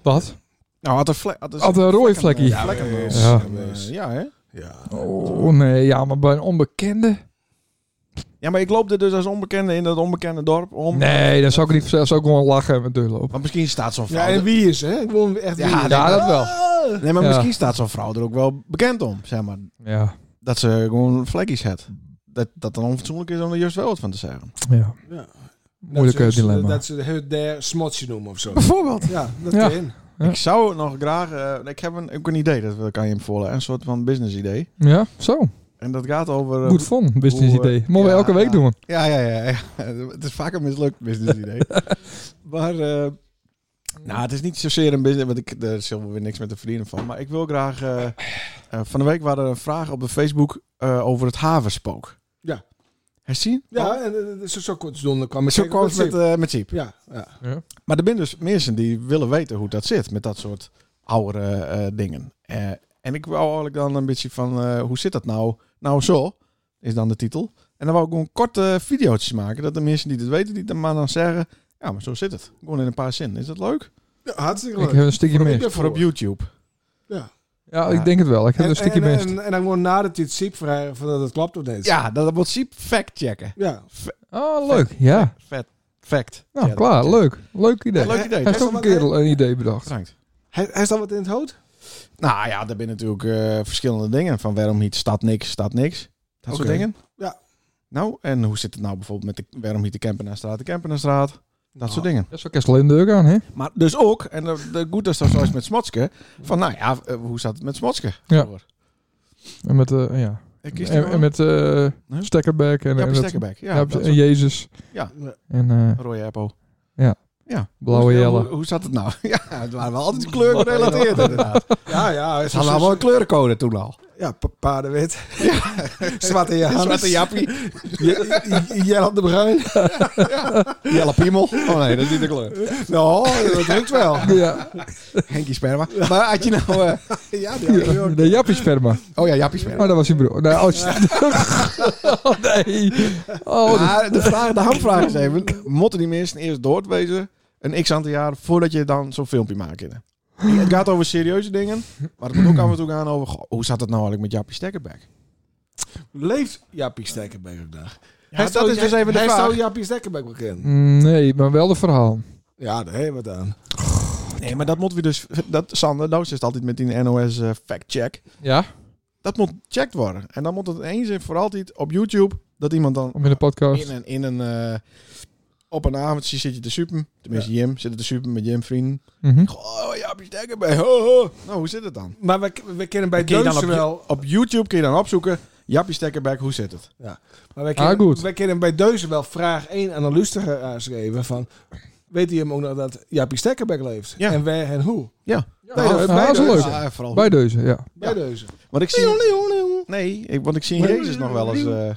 A: wat?
B: Nou, had een vlek. Had
A: Had een rode vlekkie.
B: Ja, vlekken bij ons.
A: Ja.
B: En, eh, ja, hè?
G: Ja.
A: Oh nee, ja, maar bij een onbekende?
B: ja, maar ik loop er dus als onbekende in dat onbekende dorp om.
A: Nee, dan zou ik niet zelfs ook gewoon lachen met deurlopen.
B: Want misschien staat zo'n vrouw.
G: Ja, en
B: er-
G: wie is hè? Ik wil echt
B: Ja,
G: wie is.
B: dat-
A: Ja, dat wel.
B: nee, maar
A: Ja.
B: misschien staat zo'n vrouw er ook wel bekend om, zeg maar.
A: Ja,
B: Dat ze gewoon vlekjes heeft. Dat, dat dan onfatsoenlijk is om er juist wel wat van te zeggen.
A: ja.
G: Ja.
A: Moeilijke
G: dat ze,
A: eh, dilemma.
G: Dat ze het der smotje noemen of zo.
A: Bijvoorbeeld.
G: Ja, dat
A: Ja.
G: kan in.
A: Ja.
B: Ik zou nog graag. eh, ik heb een, ook een idee, dat kan je hem voorleggen. Een soort van business idee.
A: Ja, zo.
B: En dat gaat over. eh,
A: Goed van, business
B: hoe, eh,
A: idee. Mogen we
B: ja,
A: elke week
B: ja.
A: doen.
B: Ja, ja, ja. ja. Het is vaak een mislukt business idee. maar, eh, nou, het is niet zozeer een business, want ik, daar zullen we weer niks met te verdienen van. Maar ik wil graag, eh, eh, van de week waren er een vraag op de Facebook eh, over het havenspook.
G: Ja.
B: Herzien?
G: Ja, en eh, zo, zo kort doen, dan kwam ik
B: Oh, Zo
G: zeker
B: kort met,
G: zien.
B: eh met Jeep.
G: Ja, ja.
B: Maar er zijn dus mensen die willen weten hoe dat zit met dat soort oude eh, dingen. Eh, En ik wou eigenlijk dan een beetje van, eh, hoe zit dat nou? Nou zo, is dan de titel. En dan wou ik gewoon korte eh, video's maken, dat de mensen die het weten, die dan maar dan zeggen, ja, maar zo zit het. Gewoon in een paar zinnen. Is dat leuk?
G: Ja, hartstikke
A: Ik
G: leuk.
A: heb een stukje
G: Voor-
A: meer.
G: Ja,
B: Voor op YouTube.
A: Ja,
B: Ja.
A: ik denk het wel. Ik heb
G: En,
A: een stukje
G: en,
A: mist.
G: en, en dan gewoon nadat hij het ziet vragen van dat het klopt of niet.
B: Ja, dat wordt Siep fact checken.
G: Ja.
A: Oh, leuk. Ja.
B: Vet. Fact.
A: Nou,
B: Ja,
A: klaar.
B: dat-
A: Leuk. Leuk idee.
B: Leuk idee.
A: Hij heeft ook een keer een idee bedacht.
B: Bedankt.
G: Hij, hij staat wat in het hoofd?
B: Nou ja, daar zijn natuurlijk eh, verschillende dingen. Van waarom niet staat niks, staat niks. Dat soort
G: Oké.
B: dingen.
G: Ja.
B: Nou, en hoe zit het nou bijvoorbeeld met de, waarom niet de camper naar straat, de camper naar straat. Dat
G: Oh.
B: soort dingen.
A: Dat is ook Kerst Leendeur aan, hè?
B: Ah. Maar dus ook, en dat dat goed is dat zoals met Smotske. Van nou ja, eh, hoe zat het met Smotske?
A: Ja.
B: Voor.
A: En met, eh ja.
B: Ik kies die
A: en,
B: wel.
A: en met eh
B: Huh?
A: Stekkerbeck en,
B: ja,
A: en,
B: op
A: dat-
B: Stekkerbeck. Ja,
A: ja, eh,
B: dat soort-
A: en Jezus.
B: Ja.
A: En eh,
B: Rode Apple.
A: Ja.
B: ja.
A: Blauwe
B: Hoe-
A: Jelle.
B: Hoe, hoe zat het nou? Ja, het waren wel altijd kleurgerelateerd inderdaad.
G: Ja, ja. Het
B: Ze hadden allemaal een kleurencode toen al.
G: Ja, pa- paardenwit. Zwarte Johannes.
B: Zwarte Jappie.
G: Jij had de bruin.
B: Jelle Piemel. Oh nee, dat is niet de kleur.
G: Nou, dat lukt wel.
A: ja,
B: Henkie Sperma. Maar had je nou... eh,
G: Ja, die had ik ook.
A: de Jappie sperma.
B: oh ja, Jappie Sperma.
A: Oh, dat was je broer. Nee, oh, oh, nee. Oh, dat-
B: Maar de, vraag, de hamvraag is even, moeten die mensen eerst doorwezen een x aantal jaar voordat je dan zo'n filmpje maakt? in? Het gaat over serieuze dingen, maar het moet ook af en toe gaan over, goh, hoe zat het nou eigenlijk met Jappie Stekkerback?
G: Leeft Jappie Stekkerbeek ook daar?
B: Hij dat is dus even de
G: Hij
B: vraag.
G: zou Jappie Stekkerbeek wel kennen.
A: Nee, maar wel de verhaal.
G: Ja, daar hebben we het aan.
B: Nee, maar dat moeten we dus, dat, Sander, nou is het altijd met die NOS eh, fact-check.
A: Ja,
B: Dat moet gecheckt worden. En dan moet het eens en voor altijd op YouTube, dat iemand dan
A: om in de podcast.
B: in een, in een eh, op een avondje zit je te supen, tenminste Jim, zit te supen met Jim vrienden.
A: Mhm.
B: Goh, Jappie Stekkerback, ho, ho. Nou, hoe zit het dan?
G: Maar we, we kennen bij
B: Kun je dan
G: Deuze
B: op je-
G: wel...
B: Op YouTube kun je dan opzoeken. Jappie Stekkerback, hoe zit het?
G: Maar wij
A: Ah,
G: kennen,
A: goed.
G: wij kennen bij Deuze wel vraag 1 aan de lustiger aanschreven van... Weet hij hem ook nog dat Jappie Stekkerbeek leeft?
B: Ja.
G: En waar en hoe?
A: Ja, dat is- dat is leuk.
B: Ja, vooral.
A: Bij deze, ja.
G: Bij
B: Ja.
G: Deuze.
B: Want ik zie... Nee, ik, want ik zie Jezus nog wel eens... eh,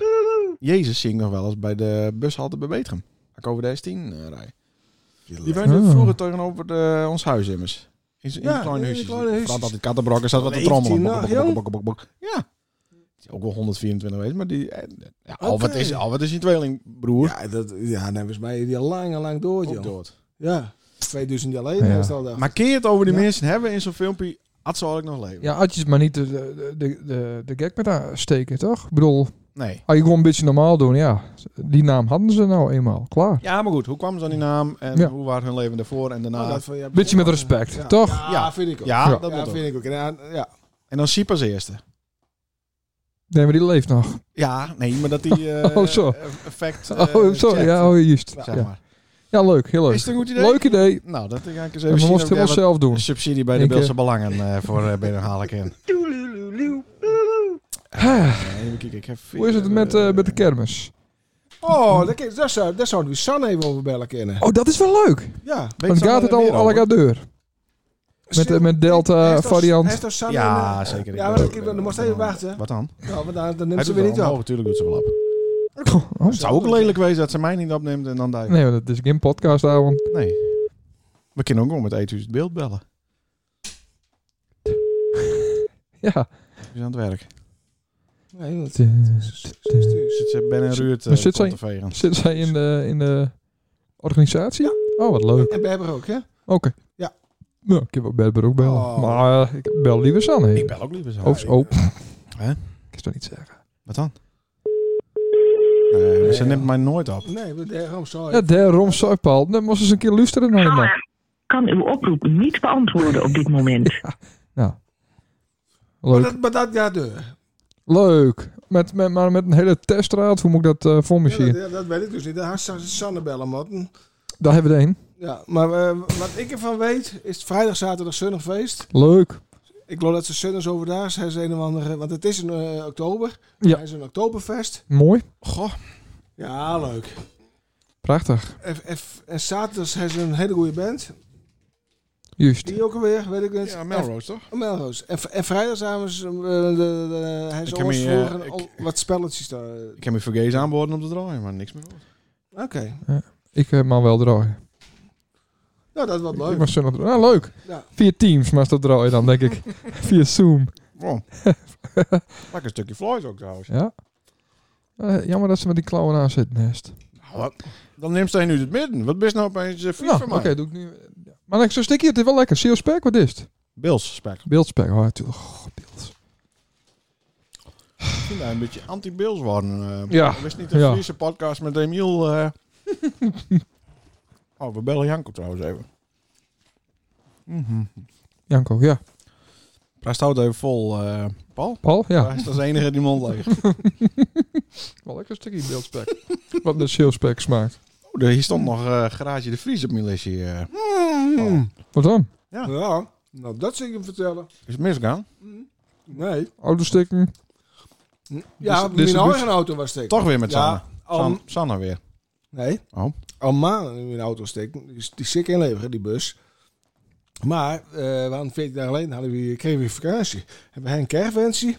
B: Jezus zie ik nog wel eens bij de bushalte bij Betrum. Ik over de S10 eh, rij. Die
A: Oh.
B: woonde vroeger tegenover de, ons huis immers. In, in
G: Ja,
B: een klein
G: in
B: huisje.
G: die kleine huisjes. nou,
B: Zat altijd kattenbrokken, zat wat te
G: Leeft die nog,
B: trommelen.
G: jong?
B: Ja. Die is Ook wel 124 geweest, maar die... eh, Ja,
G: Oké.
B: Albert, is, Albert is je tweelingbroer.
G: Ja, dat, ja, nou is mij die al lang en lang door,
B: Ook
G: joh.
B: dood. Ja.
G: Ja, 2000 jaar geleden
A: Ja.
G: is dat.
B: Maar keer het over die
G: Ja.
B: mensen hebben in zo'n filmpje... Had zal ik nog leven.
A: Ja, had je maar niet de, de, de, de, de gek met aansteken, toch? Ik bedoel,
B: Nee.
A: had Ah, je gewoon een beetje normaal doen, ja. Die naam hadden ze nou eenmaal, klaar.
B: Ja, maar goed, hoe kwamen ze aan die naam en
A: Ja. Oh,
B: hoe waren hun leven daarvoor en daarna?
G: Oh,
A: Beetje met respect,
G: Ja.
A: toch?
G: Ja,
B: Nou, Ja.
G: vind ik ook.
B: ja,
A: Ja.
B: dat
G: Ja,
B: moet ook.
G: vind ik ook. En, ja, ja.
B: En dan Siep als eerste.
A: Nee, maar die leeft nog.
B: Ja, nee, maar dat die eh
A: Oh, zo.
B: effect
A: oh, zo, ja, oh, juist.
B: Eh, zeg
A: Ja.
B: maar.
A: ja, leuk, heel
B: Is
A: leuk.
B: het een goed idee?
A: Leuk idee.
B: Nou, dat ga ik eens
A: En
B: even
A: we moesten
B: zien.
A: het
B: of ik
A: helemaal
B: daar wat
A: zelf doen.
B: Subsidie bij de
A: Ik, eh,
B: Beelse Belangen eh, voor eh binnen haal ik in. Even kijken, ik heb
A: Hoe is het
B: vier,
A: met,
B: eh,
A: eh, met de kermis?
G: Oh, daar kan- daar zou, daar zouden we San even over bellen kennen.
A: Oh, dat is wel leuk.
G: Ja.
B: weet
A: Dan
B: Sander
A: gaat het
B: er
A: al
B: meer
A: à
B: over?
A: la deur. Met, de- met Delta
G: Hij is
A: variant.
G: toch San
B: Ja,
G: en, eh,
B: zeker.
G: Ja,
B: ik
G: maar
B: ben-
G: ik- dan moest even wachten.
B: Wat dan?
G: Nou, want dan, dan
B: Hij
G: neemt ze
B: doet
G: weer niet
B: wel,
G: op.
B: natuurlijk doet ze wel op.
A: Oh,
B: Het zou ook lelijk wezen dat ze mij niet opneemt en dan daar.
A: nee, maar dat is geen podcastavond.
B: Nee. We kunnen ook gewoon met Eethuis het beeld bellen.
A: Ja.
B: We zijn aan het werk.
G: Nee, want-
B: Zit ze Ben en Ruud eh,
A: Maar zit
B: kont
A: zij-
B: te vegen.
A: Zit zij in de, in de organisatie? Oh, wat leuk.
G: En Berber ook, hè?
A: Oké.
G: Ja.
A: Nou, ik heb ook Berber ook bellen.
G: Oh.
A: Maar eh, ik bel liever Sanne.
B: Ik bel ook liever zo.
A: Of zo.
B: Hè?
A: Ik kan het niet zeggen.
B: Wat dan? Nee, ze neemt mij nooit op.
G: Nee, we- daarom sorry.
A: Ja, daarom zou ik Paul. Dan moest eens een keer luisteren naar iemand.
F: Caller kan uw oproep niet beantwoorden op dit moment.
G: maar,
A: Leuk.
G: dat, maar dat, Oh, ja, deur.
A: Leuk. Met, met, maar met een hele testraad. Hoe moet ik dat eh voor me
G: Ja, dat,
A: zien?
G: ja, dat weet ik dus niet. Daar had ze Sanne bellen moeten.
A: Daar hebben we er een.
G: Ja, maar eh, wat ik ervan weet, is vrijdag, zaterdag, zondag feest.
A: Leuk.
G: Ik geloof dat ze zondags overdag zijn, ze een of andere, want het is in eh, oktober.
A: Ja.
G: Hij is een oktoberfest.
A: Mooi.
B: Goh.
G: Ja, leuk.
A: Prachtig.
G: En- en- En zaterdags hebben ze een hele goede band.
A: Juist.
G: Die ook alweer, weet ik niet.
B: toch?
G: En- Melrose. En, v- en vrijdag samen ze, eh, de, de, de- hij is
B: Ik heb
G: ons
B: hier,
G: voor
B: eh,
G: een-
B: ik-
G: al- wat spelletjes daar. Oké.
B: Ik heb mijn vergees aanboden om te draaien, maar niks meer. hoor.
A: Ik eh, mag wel draaien.
G: Nou, dat wordt
A: Ik
G: leuk.
A: mag zondag draaien. Ah, leuk.
G: Ja.
A: Via Teams mag dat draaien dan, denk ik. Via Zoom.
B: Oh. Pak een stukje vlees ook trouwens.
A: Ja. Eh, jammer dat ze met die klauwen aan zitten, Nest.
B: Nou, wat? Dan neemt hij nu het midden. Wat best nou opeens eh, vies
A: Nou,
B: van
A: oké,
B: mij?
A: doe ik nu. ja. Maar ik zo stikkie, het is wel lekker. Seal spek, wat is het?
B: Bills spek.
A: Beeldspek, oh, natuurlijk. Oh, beeld.
B: Ik vind dat een beetje anti-Bills worden. eh.
A: Ja.
B: Ik wist niet dat
A: Ja.
B: Friese podcast met Emiel... eh. oh, we bellen Janko trouwens even. Mhm.
A: Janko, ja.
B: Hij houdt even vol, eh, Paul.
A: Paul, ja.
B: Hij is als enige die mond leeg.
A: Wel lekker stukje beeldspek. wat de seal spek smaakt.
B: Oh, hier stond nog eh, Garage de Vries op mijn lesje. eh.
G: Hmm.
A: Wat dan?
G: Ja, nou dat zie ik hem vertellen.
B: Is het misgaan?
G: Nee.
A: Autostikken?
G: Ja,
A: dit is
G: mijn
A: een
G: eigen auto was steken.
B: Dus- Toch weer met Sanne.
G: Ja,
B: San-
G: al,
B: Sanne weer.
G: nee.
B: Oh.
G: Al maanden in mijn auto steken. Die, die zit inleveren, die bus. Maar, eh we hadden 14 dagen geleden hadden we, kregen we vakantie. Hebben we een kerventie.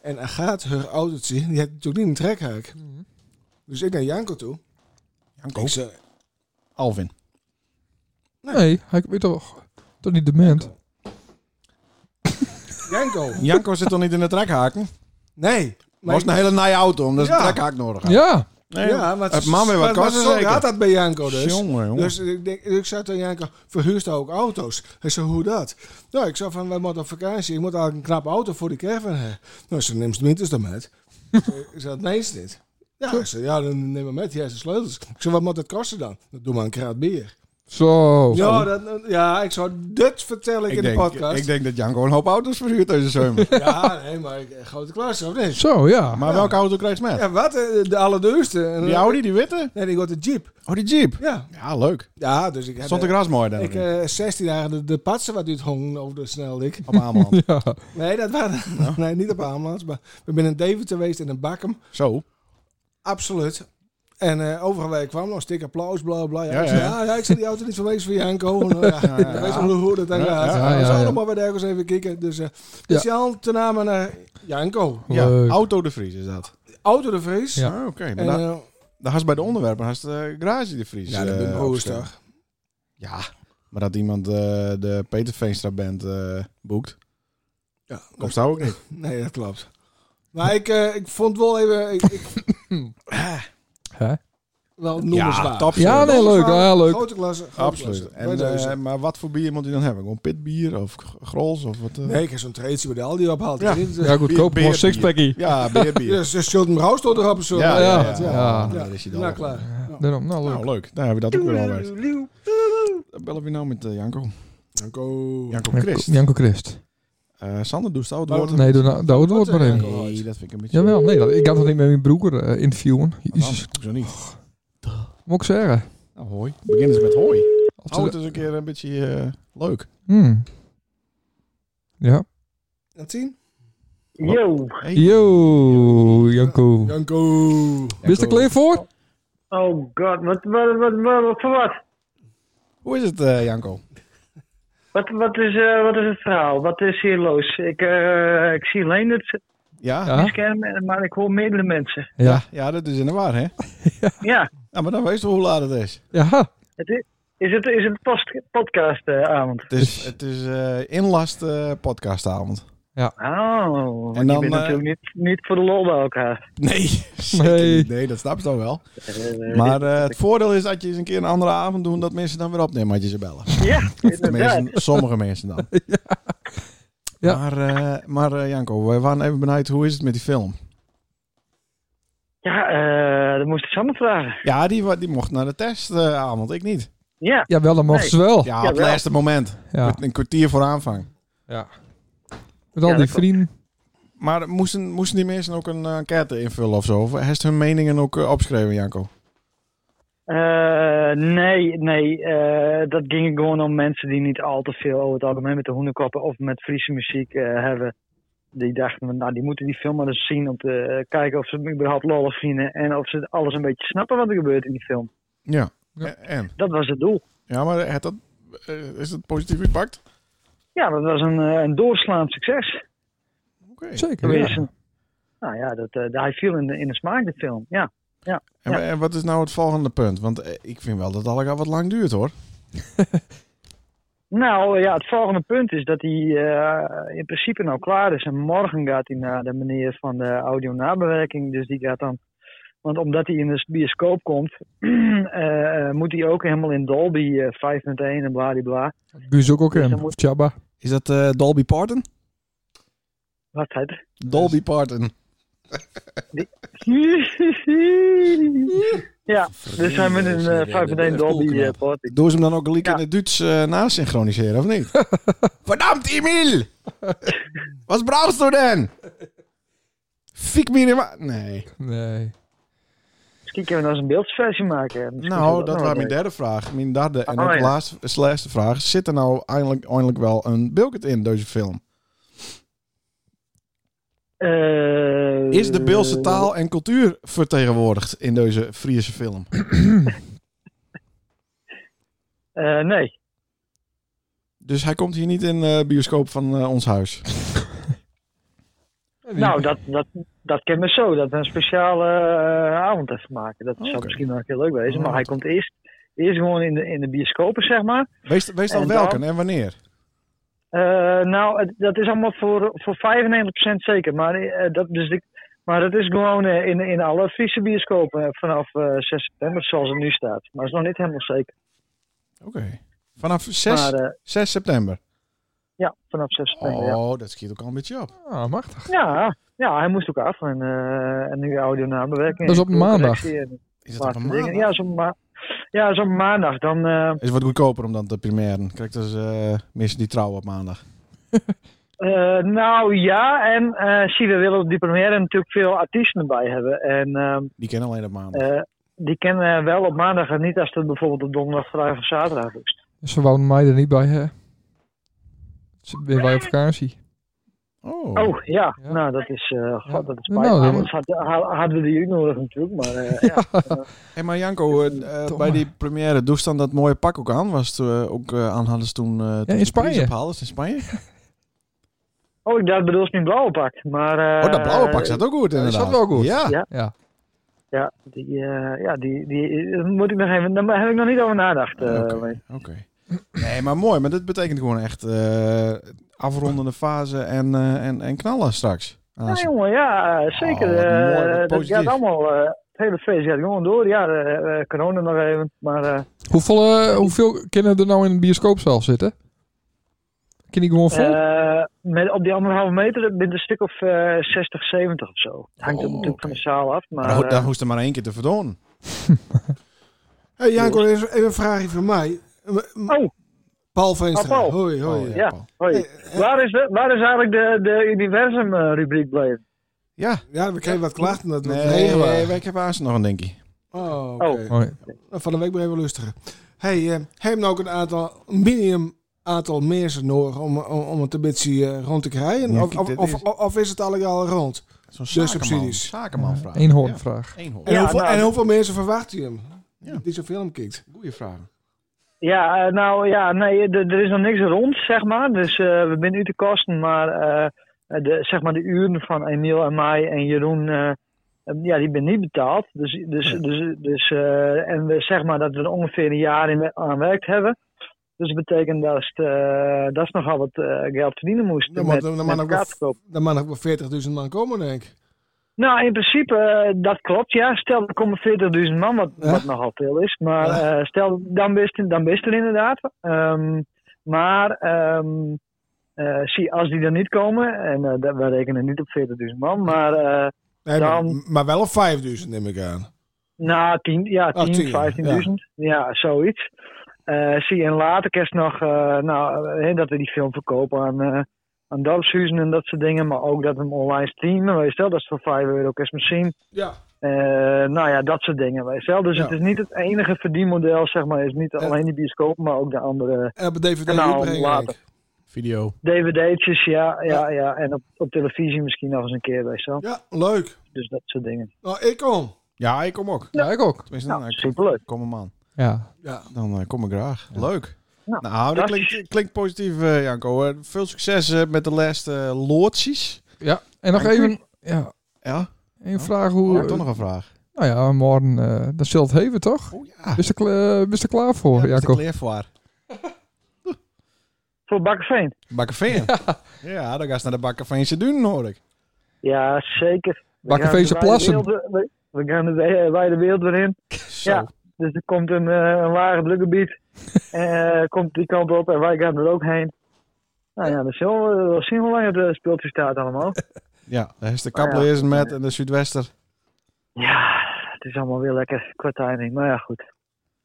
G: En hij gaat haar autootje, die had natuurlijk niet een trekhaak. Dus ik naar Janko toe.
B: Janko.
G: Ik zei,
B: Alvin.
A: Nee, hij weet toch, toch niet dement?
G: Janko,
B: Janko zit toch niet in de trekhaken?
G: nee.
B: Maar was een hele naaie auto, omdat ze
G: Ja.
B: een trekhaak nodig had.
A: Ja.
B: Nee,
G: ja, maar
B: Het man weer wat
G: maar- maar
B: kosten
G: zo
B: zeker?
G: gaat dat bij Janko dus.
B: Jongen, jongen.
G: Dus ik, denk, ik zei tegen Janko, verhuurst hij ook auto's? Hij zei, hoe dat? Nou, ik zei van, wij moeten op vakantie. Ik moet eigenlijk een knappe auto voor de caravan hebben. Nou, ze neemt het minstens dan met. Ik zei, ik zei, nee is dit. Ja, ik zei, ja, dan neem maar met. Hier zijn sleutels. Ik zei, wat moet dat kosten dan? Nou, doe maar een kraat bier.
A: Zo.
G: Ja, dat, ja, ik zou dit vertel ik,
B: ik,
G: in
B: denk,
G: de podcast.
B: ik denk dat Janko een hoop auto's verhuurt deze zomer.
G: ja, nee, maar ik, grote klasse, of niet?
A: Zo, ja.
B: maar welke auto krijg je met?
G: Ja, wat? eh, De allerduurste. En,
B: Die Audi, die witte?
G: Nee, die wordt de Jeep.
B: Oh, die Jeep.
G: Ja.
B: Ja, leuk.
G: Ja, dus ik heb...
B: Stond de gras mooi daar.
G: Ik
B: Ik,
G: eh 16 jaar de, de patsen wat uit hongen over de sneldik.
B: op Ameland.
A: Ja.
G: Nee, dat waren nee, niet op Ameland. Maar we zijn in Deventer geweest en in Bakkum.
B: Zo.
G: Absoluut. En eh overal waar ik kwam, nog een stuk applaus, bla bla. Ja,
B: Ja,
G: ik zei, "Ah,
B: ja.
G: ja, ja, ik zei die auto niet verwezen voor Janko. Nou, ja,
B: ja.
G: Weet wel hoe dat dan
B: Ja,
G: gaat.
B: ja,
A: ja,
G: we
A: ja.
G: zouden maar weer ergens even kijken. Dus, eh dus ja. al te namen naar Janko.
B: Ja,
A: Leuk.
B: Auto de Vries is dat.
G: Auto de Vries.
A: Ja.
B: Ah, Oké, maar
G: En,
B: daar
G: eh,
B: daar had ze bij de onderwerpen had ze de garage de Vries.
G: ja, dat
B: eh,
G: ben ik broers
B: opgestuurd.
G: toch.
B: Ja, maar dat iemand eh, de Peter Veenstra Band eh, boekt,
G: Ja,
B: komt daar ook niet.
G: nee, dat klopt. Maar ik, eh, ik vond wel even... Ik, ik, Ah.
A: Hè?
G: wel noemenswaardig.
A: Ja, nee, leuk. Ja, leuk.
G: Grote klasse. grote
B: Absoluut.
G: klasse.
B: En,
G: Bij
B: eh,
G: deze.
B: maar wat voor bier moet hij dan hebben? Gewoon pitbier of g- grols of wat? eh?
G: nee, ik heb zo'n treetje bij de Aldi ophaald.
B: Ja.
A: Ja, goedkoop. Gewoon sixpackie.
B: Ja, beerbier.
G: Dus uh, Schulten Brouw stond erop en zo.
B: Ja,
A: ja,
B: ja,
A: ja.
B: Nou, daar is hij dan.
G: Nou, klaar.
A: Daarom, nou leuk.
B: Nou, leuk. Daar hebben we dat ook weer al uit. Dan bellen we nou met eh, Janko.
G: Janko.
B: Janko
A: Janko-
B: Christ.
A: Janko Christ.
B: Eh, Sander, doe stout het
G: Waarom-
B: woord.
A: Nee, doe nou, doe het woord
G: Wat,
A: maar
G: eh,
A: even.
G: Janko?
B: Nee, dat vind ik een beetje...
A: Jawel, nee, dat, ik ga toch niet met mijn broer eh, interviewen.
B: Dan,
A: Jezus,
B: zo niet.
A: moet ik zeggen.
B: Nou, hoi. Begin eens met hoi.
A: Als
B: Hou
A: ze-
B: het eens een keer een beetje eh, leuk.
A: Hmm. Ja.
G: En tien?
D: Yo,
B: Hey.
A: Yo, Janko.
G: Janko.
A: Wist je er klaar voor?
D: oh god, wat, wat, wat, wat, wat, voor wat?
B: Hoe is het, eh, Janko?
D: Wat, wat, is, eh, wat is het verhaal? Wat is hier los? Ik, eh, ik zie alleen het
B: Ja? Ja,
A: Ja.
D: scherm, maar ik hoor meerdere mensen.
A: Ja.
B: dat is in de waar, hè?
D: Ja,
B: Ja, maar dan weet je hoe laat het is.
A: Ja.
D: het is, is het, is het post, eh, podcastavond?
B: Het
A: Dus-
B: is, het is eh, inlast eh, podcastavond.
D: oh, want
B: En dan,
D: je bent
B: eh,
D: natuurlijk niet, niet voor de lol bij elkaar.
B: Nee, zeker
A: Nee.
B: niet. nee dat snap je dan wel.
D: Eh,
B: Maar eh, het voordeel is dat je eens een keer een andere avond doet... dat mensen dan weer opnemen als je ze bellen.
D: ja, inderdaad.
B: Tenminste, sommige mensen dan.
A: Ja.
B: Maar, eh, maar eh, Janko, wij waren even benieuwd... hoe is het met die film?
D: Ja, eh dat moest ik Sander vragen.
B: Ja, die, wa- die mocht naar de testavond, ik niet.
D: Ja,
A: Ja, wel, dat mocht ze wel.
B: Ja, op het
D: Jawel.
B: laatste moment.
A: Ja.
B: Een kwartier voor aanvang.
A: Met al
D: Ja,
A: die
D: dat klopt.
A: vrienden.
B: Maar moesten, moesten die mensen ook een eh, enquête invullen of zo? Of heeft hun meningen ook eh, opgeschreven, Janko?
D: Eh, nee, nee. eh, dat ging gewoon om mensen die niet al te veel over het algemeen met de hoenenkoppen of met Friese muziek eh, hebben. Die dachten, van, nou, die moeten die film maar eens zien om te eh, kijken of ze hem überhaupt lollig vinden. En of ze alles een beetje snappen wat er gebeurt in die film.
B: Ja.
A: Ja.
B: En- En?
D: Dat was het doel.
B: Ja, maar het dat, eh, is het positief gepakt?
D: Ja, dat was een, eh, een doorslaand succes.
B: Oké.
A: Zeker.
D: geweest.
A: Ja.
D: Nou ja, dat, eh, hij viel in de, in de smaak, de film. Ja.
B: En, wa- en wat is nou het volgende punt? Want eh, ik vind wel dat het al wat lang duurt, hoor.
D: Nou ja, het volgende punt is dat hij eh, in principe nou klaar is. En morgen gaat hij naar de meneer van de audio-nabewerking. Dus die gaat dan. Want omdat hij in de bioscoop komt, eh, moet hij ook helemaal in Dolby eh, 5.1 en bladibla.
A: Guus ook ook
D: dan
A: in.
D: moet-
A: Chabba.
B: Is dat eh, Dolby Parton?
D: Wat het?
B: Dolby Parton.
D: ja, dus hij moet in eh, 5.1 Dolby eh, porten.
B: Doe ze hem dan ook gelijk
D: Ja.
B: in het Duits eh nasynchroniseren, of niet? Verdammt, Emil! Wat brauchst du denn? Fiek mir in ma- Nee.
A: Nee.
D: Misschien kunnen we nou eens een beeldversie maken. Misschien is
B: Nou, dat
D: nog
B: was
D: wel
B: mijn derde vraag. Mijn derde en
D: Oh,
B: ook
D: ja.
B: laatste, is de laatste vraag. Zit er nou eindelijk, eindelijk wel een Bilkert in deze film?
D: leuk. Eh,
B: Is de Beelse taal en cultuur vertegenwoordigd in deze Friese film?
D: eh, nee.
B: Dus hij komt hier niet in de bioscoop van eh, ons huis.
D: Nou, dat, dat, dat kan me zo. Dat we een speciale eh, avond even maken.
A: Oh,
D: Dat zou
B: Oké.
D: misschien wel een keer leuk wezen. Maar hij komt eerst, eerst gewoon in de, in de bioscopen, zeg maar.
B: Wees, wees dan
D: En
B: welke
D: dan?
B: en wanneer?
D: Eh, nou, het- dat is allemaal voor, voor 95% zeker. Maar, eh, dat, dus ik, maar dat is gewoon eh, in, in alle Friese bioscopen eh, vanaf eh, 6 september, zoals het nu staat. Maar dat is nog niet helemaal zeker.
B: Oké. Vanaf 6,
D: Maar eh,
B: 6 september.
D: ja, vanaf 6 september.
B: Oh,
D: ja.
B: dat schiet ook al een beetje op.
A: Ah, machtig.
D: Ja, ja, hij moest ook af en, eh, en nu audio nabewerking.
A: Dat is op maandag.
D: eh,
B: Is dat op een maandag?
D: Ja, zo ma ja, dat is op maandag. Dan, eh,
B: Is wat goedkoper om dan te primeren. Kijk, dat is eh, mensen die trouwen op maandag.
D: eh, nou ja, en eh, zie, we willen op die première natuurlijk veel artiesten erbij hebben. En ehm,
B: Die kennen alleen op maandag.
D: eh, die kennen eh, wel op maandag en niet als het bijvoorbeeld op donderdag, vrijdag of zaterdag is.
A: Ze wouden mij er niet bij, hè? Ze- Ben wij op vakantie?
B: oh.
D: Oh, ja.
A: Ja.
D: Nou, dat is, eh god, dat is
A: Nou,
D: spijt.
A: dat-
D: Anders had- ha- hadden we die ook nodig natuurlijk, maar eh, ja.
B: Hey, maar Janko, eh, eh,
A: Toch
B: bij
A: maar.
B: die première doe ze dan dat mooie pak ook aan? Was het eh, ook eh, aan hadden ze toen... eh, toen
A: in
B: ze de prijs
A: Spanje.
B: ophaalden, is het in Spanje?
D: Oh, ik dacht bedoel ze mijn blauwe pak, maar... eh,
B: oh, dat blauwe pak staat ook goed
A: dat
B: inderdaad.
A: staat wel goed.
B: Ja.
D: Ja.
A: Ja.
D: Ja, die, eh, ja, die, die daar moet ik nog even. Daar heb ik nog niet over nagedacht. eh,
B: Oké.
D: maar-
B: Oké. Nee, maar mooi. Maar dit betekent gewoon echt eh, afrondende fase en, eh, en, en knallen straks. Ah,
D: Nou, Ja,
B: zo.
D: jongen, ja, zeker.
B: Oh, wat mooi, wat
D: eh, dat
B: positief.
D: gaat allemaal. eh, het hele feest gaat gewoon door. Ja, eh, eh, corona nog even. Maar eh,
A: Hoeveel, eh, hoeveel kinderen er nou in de bioscoopzaal zitten? Kan die gewoon vol?
D: eh, met, op die anderhalve meter bent een stuk of eh 60, 70 of zo. Het hangt
B: Oh,
D: er natuurlijk
B: oké.
D: van de zaal af. Maar,
B: Maar dan,
D: eh,
B: dan hoeft er maar één keer te verdonen.
G: Hey, Janko, even even een vraagje van mij. M- m-
D: Oh.
G: Paul Veenstra.
D: Ah, Paul.
G: Hoi, hoi.
B: Oh,
D: ja.
B: Paul.
D: hoi.
G: Hey, eh,
D: waar, is de, waar is eigenlijk de, de eh, universum-rubriek blijven?
B: Ja.
G: ja, we kregen wat klachten dat het
B: Nee,
G: regen was.
B: wij- ik heb haast nog een denkje.
G: Oh,
D: Oh.
G: oké.
A: Mooi.
G: Nou, Van de week ben je wel lustiger. Hey, eh, heb je nou ook een aantal, een minimum aantal mensen nodig om, om, om het een beetje eh, rond te krijgen?
B: Ja,
G: of,
B: kijk, dit
G: of,
B: is-
G: of, of is het eigenlijk al rond?
B: Zo'n
G: subsidies.
B: Zakenman vraag.
A: Eén hoornvraag.
B: Eén hoorn.
G: En,
D: Ja,
G: hoeveel,
D: nou,
G: en
D: dat-
G: hoeveel mensen verwacht je hem?
B: Ja.
G: Die zo'n film kijkt.
B: Goeie vraag.
D: Ja, eh, nou ja, nee, d- er is nog niks rond, zeg maar. Dus eh, we zijn nu te kosten, maar eh, de, zeg maar de uren van Emiel en mij en Jeroen, eh, eh, ja, die ben niet betaald. Dus, dus, dus, dus eh, en we zeg maar dat we er ongeveer een jaar in we- aan werkt hebben. Dus dat betekent dat het, eh, dat is nogal wat eh, geld verdienen moest
G: Dan moet-
D: met,
G: dan
D: met
G: moet ook wel-
D: kaartverkoop.
G: Dan mag nog wel 40.000 man komen, denk ik.
D: Nou, in principe, eh, dat klopt, ja. Stel, er komen 40.000 man, wat,
G: Ja.
D: wat nogal veel is. Maar
G: Ja.
D: eh, stel, dan wist dan wist er inderdaad. Ehm, maar ehm, eh, zie, als die er niet komen, en eh, dat- we rekenen niet op 40.000 man, maar eh
G: Nee, maar-
D: Dan-
G: maar wel op 5.000 neem ik aan.
D: na 10, ja, 10,
G: Ah, 10,
D: 15.000. Ja. zoiets. Eh, zie, en later kerst nog, eh, nou, hè, dat we die film verkopen aan, eh aan dorpshuizen en dat soort dingen. Maar ook dat we hem online streamen. Weet je wel, dat is voor 5 euro kerst misschien.
G: Ja.
D: Eh, nou ja, dat soort dingen. Weet je wel. Dus
G: Ja.
D: het is niet het enige verdienmodel, zeg maar. Het is niet
G: Ja.
D: alleen die bioscoop, maar ook de andere
G: En op het DVD
D: Kanaal
G: uitbrengen,
D: later.
G: denk ik.
B: Video.
D: dvd'tjes. Ja, ja, ja. En op, op televisie misschien nog eens een keer, weet je wel.
G: Ja, leuk.
D: Dus dat soort dingen.
G: Nou, ik kom.
B: Ja, ik kom ook.
A: Ja, ik ook.
B: Tenminste,
D: Nou,
B: dan, eh,
D: superleuk.
B: kom een man.
A: Ja.
G: Ja.
B: Dan eh, kom ik graag. Leuk. Nou,
D: Nou,
B: dat
D: dat-
B: klinkt, klinkt positief, eh, Janko. Eh, veel succes eh, met de laatste eh, loodsies.
A: ja. En nog
B: Dank u.
A: even ja,
B: Ja,
A: één
B: Oh,
A: vraag.
B: ik
A: Hoe,
B: heb toch nog een vraag.
A: Nou ja, morgen, eh dan zult het hebben, toch?
B: Oh ja.
A: Is er, kla- eh, is er klaar voor,
B: Ja, dat is de
A: Jacob?
B: kleervoor.
D: Voor Bakkeveen.
B: Bakkerveen. Ja. daar ga je naar de Bakkerveense Dunen, hoor ik.
D: Ja, zeker. We
A: Bakkeveense
D: gaan de wijde
A: plassen.
D: wereld- We, we gaan de we- eh, wijde wereld weer in. Ja, dus er komt een, eh een wagen drukgebied. eh, komt die kant op en wij gaan er ook heen. Nou ja, dan zullen we, dan zien we hoe lang het eh, speeltje staat allemaal.
B: Ja, daar is de
D: Oh,
B: kaplezen met en de Zuidwester.
D: Ja, het is allemaal weer lekker qua timing. Maar ja, goed.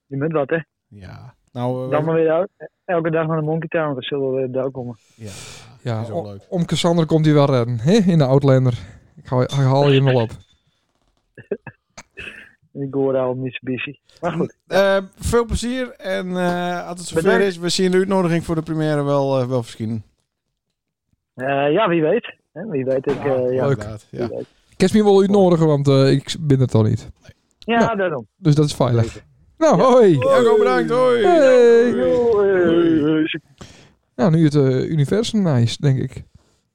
D: Je moet wat, hè.
B: Ja. Nou, eh,
D: Dan maar weer el- elke dag naar de Monkey Town. Dan zullen we weer daar komen.
B: ja.
A: Ja,
B: Is ook
A: o-
B: leuk.
A: om Cassander komt hij wel redden, hè? In de Outlander. Ik haal, ik haal je hem wel op.
D: Ik hoor daar al Mitsubishi. Maar goed.
B: Eh, veel plezier en eh, als het zover
D: Bedankt.
B: is, we zien de uitnodiging voor de première wel, eh, wel verschijnen.
D: Eh, ja, wie weet. Hè, Wie weet, ik... eh, ja.
A: leuk.
B: Inderdaad, Ja.
A: Ik kan me wel uitnodigen, want eh, ik ben het al niet.
D: Ja,
A: Ja.
D: daarom.
A: Dus dat is veilig. Nou, hoi!
B: Jacco, bedankt, hoi!
A: Hey.
D: Doei.
A: Nou, nu het eh, universum nice, denk ik.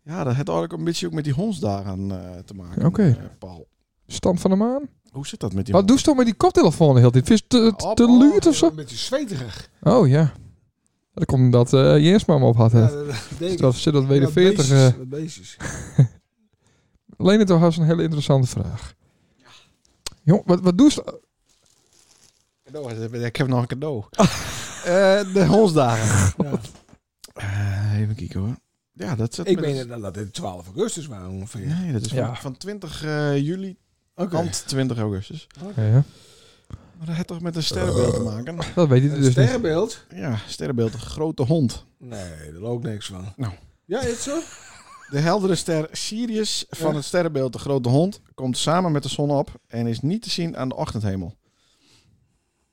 B: Ja, dat heeft eigenlijk een beetje ook met die hondsdagen eh, te maken.
A: Oké.
B: eh, Paul,
A: Stand van de maan.
B: hoe zit dat met die
A: Wat doe je dan met die koptelefoon de hele tijd? Vind je het te, te, te luid of zo?
G: Oh, Een beetje zweterig.
A: Oh ja. Dat komt omdat eh Jens maar hem op had.
G: Ja,
A: hè.
G: dat denk
A: Dus
G: ik.
A: dat zit dat
G: Wat
A: 41.
G: beestjes,
A: eh
G: wat beestjes.
A: Lene, toch was een hele interessante vraag. Jong, wat, wat doe je?
B: Cadeau, ik heb nog een cadeau. Eh, de hondsdagen. Eh, even kijken hoor. Ja, dat zit
G: Ik
B: met-
G: meen dat- dat dit 12 augustus was ongeveer.
B: Nee, dat is van,
A: Ja.
B: van 20 eh, juli
G: Oké.
B: tot 20 augustus.
A: Ja,
B: Maar dat heeft toch met een sterrenbeeld te maken?
A: dat weet je
G: Een
A: dus niet.
G: sterrenbeeld?
B: Ja, sterrenbeeld, een grote hond.
G: Nee, daar loopt niks van.
B: Nou.
G: Ja, is het zo?
B: De heldere ster Sirius van
G: Ja.
B: het sterrenbeeld de grote hond komt samen met de zon op en is niet te zien aan de ochtendhemel.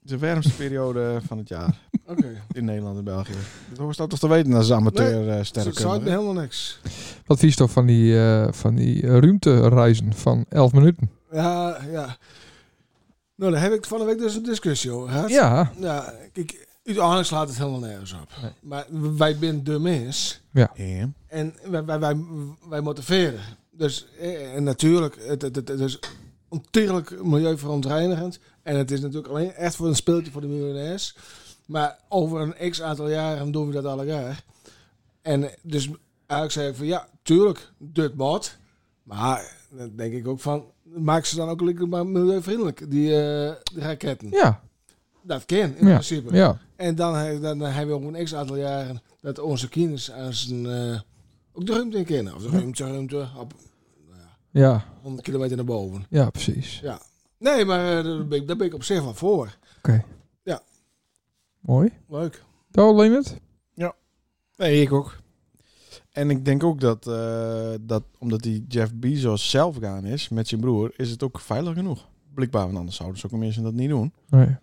B: De warmste periode van het jaar
G: Oké.
B: in Nederland en België. Dat hoort dat toch te weten als amateur eh,
G: Dus het zou
B: sterrenkundige.
G: me helemaal niks.
A: Wat vies toch van die, eh, van die eh, ruimtereizen van 11 minuten?
G: Ja, ja. Nou, daar heb ik van de week dus een discussie over gehad.
A: Ja,
G: Ja, kijk, uiteindelijk slaat het helemaal nergens op.
A: Nee.
G: Maar wij zijn de mens
B: Ja.
G: en wij, wij, wij, wij motiveren. Dus, eh, en natuurlijk, het, het, het, het is ontiegelijk milieuverontreinigend. En het is natuurlijk alleen echt voor een speeltje voor de miljonairs. Maar over een x aantal jaren doen we dat alle jaar. En dus eigenlijk zei ik van ja, tuurlijk, dit bot. Maar dan denk ik ook van, maak ze dan ook lekker maar milieuvriendelijk, die, eh, die raketten.
A: ja,
G: Dat kan in
A: Ja,
G: principe.
A: ja.
G: En dan, he- dan hebben we ook een x-aantal jaren dat onze kinderen aan zijn, eh, ook de ruimte in kennen. Of de ruimte, ruimte, op
A: Ja,
G: 100 kilometer naar boven.
A: ja, precies.
G: Nee, maar eh, daar, ben ik, daar ben ik op zich wel voor.
A: Mooi.
G: Leuk.
A: Daar alleen het?
B: Nee, ik ook. En ik denk ook dat, eh, dat omdat die Jeff Bezos zelf gaan is met zijn broer, is het ook veilig genoeg. Blijkbaar, want anders zouden zulke mensen dat niet doen.
A: Nee.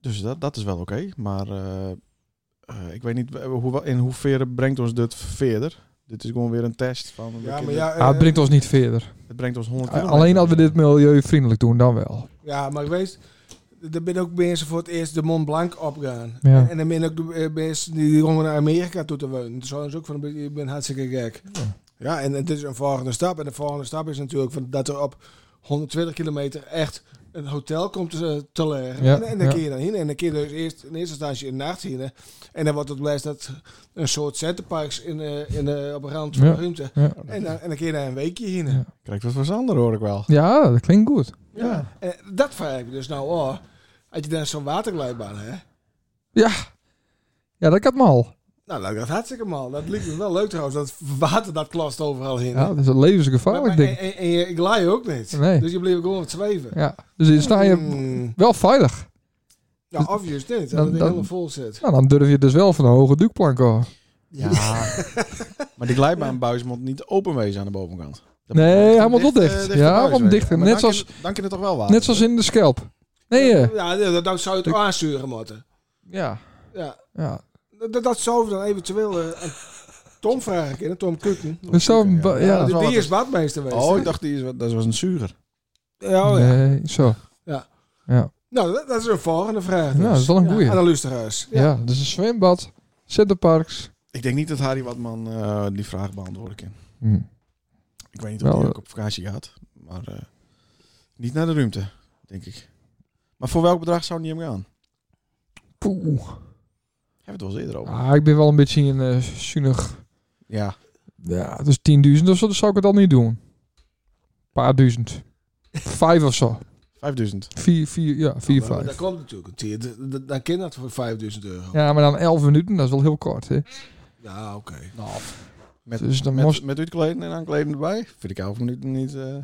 B: Dus dat, dat is wel oké. Maar eh, eh, ik weet niet eh, hoe, in hoeverre brengt ons dit verder. Dit is gewoon weer een test. Van, we
G: Ja, maar
B: kunnen-
G: ja,
A: Ah, het
G: eh,
A: brengt ons niet verder. Eh,
B: Het brengt ons 100 kilometer.
A: Ah, Alleen als we dit milieuvriendelijk doen, dan wel.
G: ja, maar ik weet, er ben ook mensen voor het eerst de Mont Blanc opgaan.
A: Ja.
G: En dan ben ook de eh, mensen die komen naar Amerika toe te wonen. Dus zo is ook van, ik ben hartstikke gek. Ja, en, en dit is een volgende stap. En de volgende stap is natuurlijk van, dat er op 120 kilometer echt een hotel komt te, te liggen.
A: Ja,
G: en, en dan
A: ja.
G: kun je dan heen. En dan kun je dus eerst, in eerste instantie een nacht heen. En dan wordt het blijft dat een soort centerparks in, eh, in, eh, op de rand van
A: Ja.
G: de ruimte.
A: Ja.
G: En dan, en dan kun je daar een weekje heen.
A: Ja.
B: Krijgt wat voor Sander hoor ik wel.
A: ja, dat klinkt goed.
G: Ja. En dat vraag ik me dus nou, oh, had je dan zo'n waterglijbaan, hè?
A: Ja, dat kan me al.
G: Nou, dat gaat hartstikke mal. Dat lijkt me wel leuk trouwens, dat water dat klast overal heen.
A: Ja,
G: hè?
A: dat is een
G: Maar- maar-
A: levensgevaarlijk
G: en,
A: ding.
G: en, en je- ik laai ook niet.
A: Nee.
G: Dus je bleef gewoon wat zweven.
A: Ja, dus dan sta je
G: Hmm.
A: wel veilig.
G: Nou, obvious niet. Dat
A: Dan-
G: het
A: dan-
G: helemaal vol zit.
A: Nou, dan durf je dus wel van een hoge duikplank af.
B: Ja. maar die glijbaanbuis moet niet open wezen aan de bovenkant. Dat
A: Nee,
B: moet echt
A: hij moet wel
B: eh,
A: dicht.
B: dichterbij
A: Ja, hij moet
B: wezen.
A: dicht.
B: Ja, maar
A: Net
B: dan
A: zoals-
B: kun je- Dan kun je toch wel water.
A: Net zoals in de schelp. Nee, eh,
G: Ja, dat, dat zou je het aansturen moeten.
A: ja.
G: Ja.
A: ja.
G: Dat, dat zou dan eventueel eh, aan Tom vragen kunnen, Tom Kukken.
A: Dus zo, ba-
B: Ja,
A: ja.
B: dat is
G: die,
B: wel
G: die
B: wat-
G: is badmeester geweest.
B: Oh,
G: hè?
B: ik dacht die is, wat- dat was een zuger.
G: ja, oh, ja.
A: Nee, zo.
G: Ja.
A: Ja,
G: Nou, dat, dat is een volgende vraag. Dus.
A: nou, dat is wel een goeie.
G: Aan de luisteraars. Ja.
A: Ja, dus een zwembad, centerparks.
B: Ik denk niet dat Harry Watman eh, die vraag beantwoorden kan.
G: Mm.
A: Hm.
B: Ik weet niet of
A: Wel,
B: hij
A: eh,
B: ook op vakantie gaat, maar eh, niet naar de ruimte, denk ik. Maar voor welk bedrag zou hij hem gaan?
A: Poeh.
B: Heb we het wel eens eerder over.
A: Ah, ik ben wel een beetje een eh zuinig.
B: Ja.
A: Ja, dus 10.000 of zo, dan zou ik het al niet doen. Een paar duizend. Vijf of zo.
B: 5000.
A: Vier, vier, ja, vier,
G: Maar Dat
A: vijf.
G: komt natuurlijk een tier. D- d- Dan kan dat voor 5000 euro.
A: Ja, maar dan 11 minuten, dat is wel heel kort, hè?
G: Ja, oké.
B: Met,
A: Dus dan
B: met,
A: moest-
B: met uitkleden en aankleden erbij. Vind ik elf minuten niet... eh,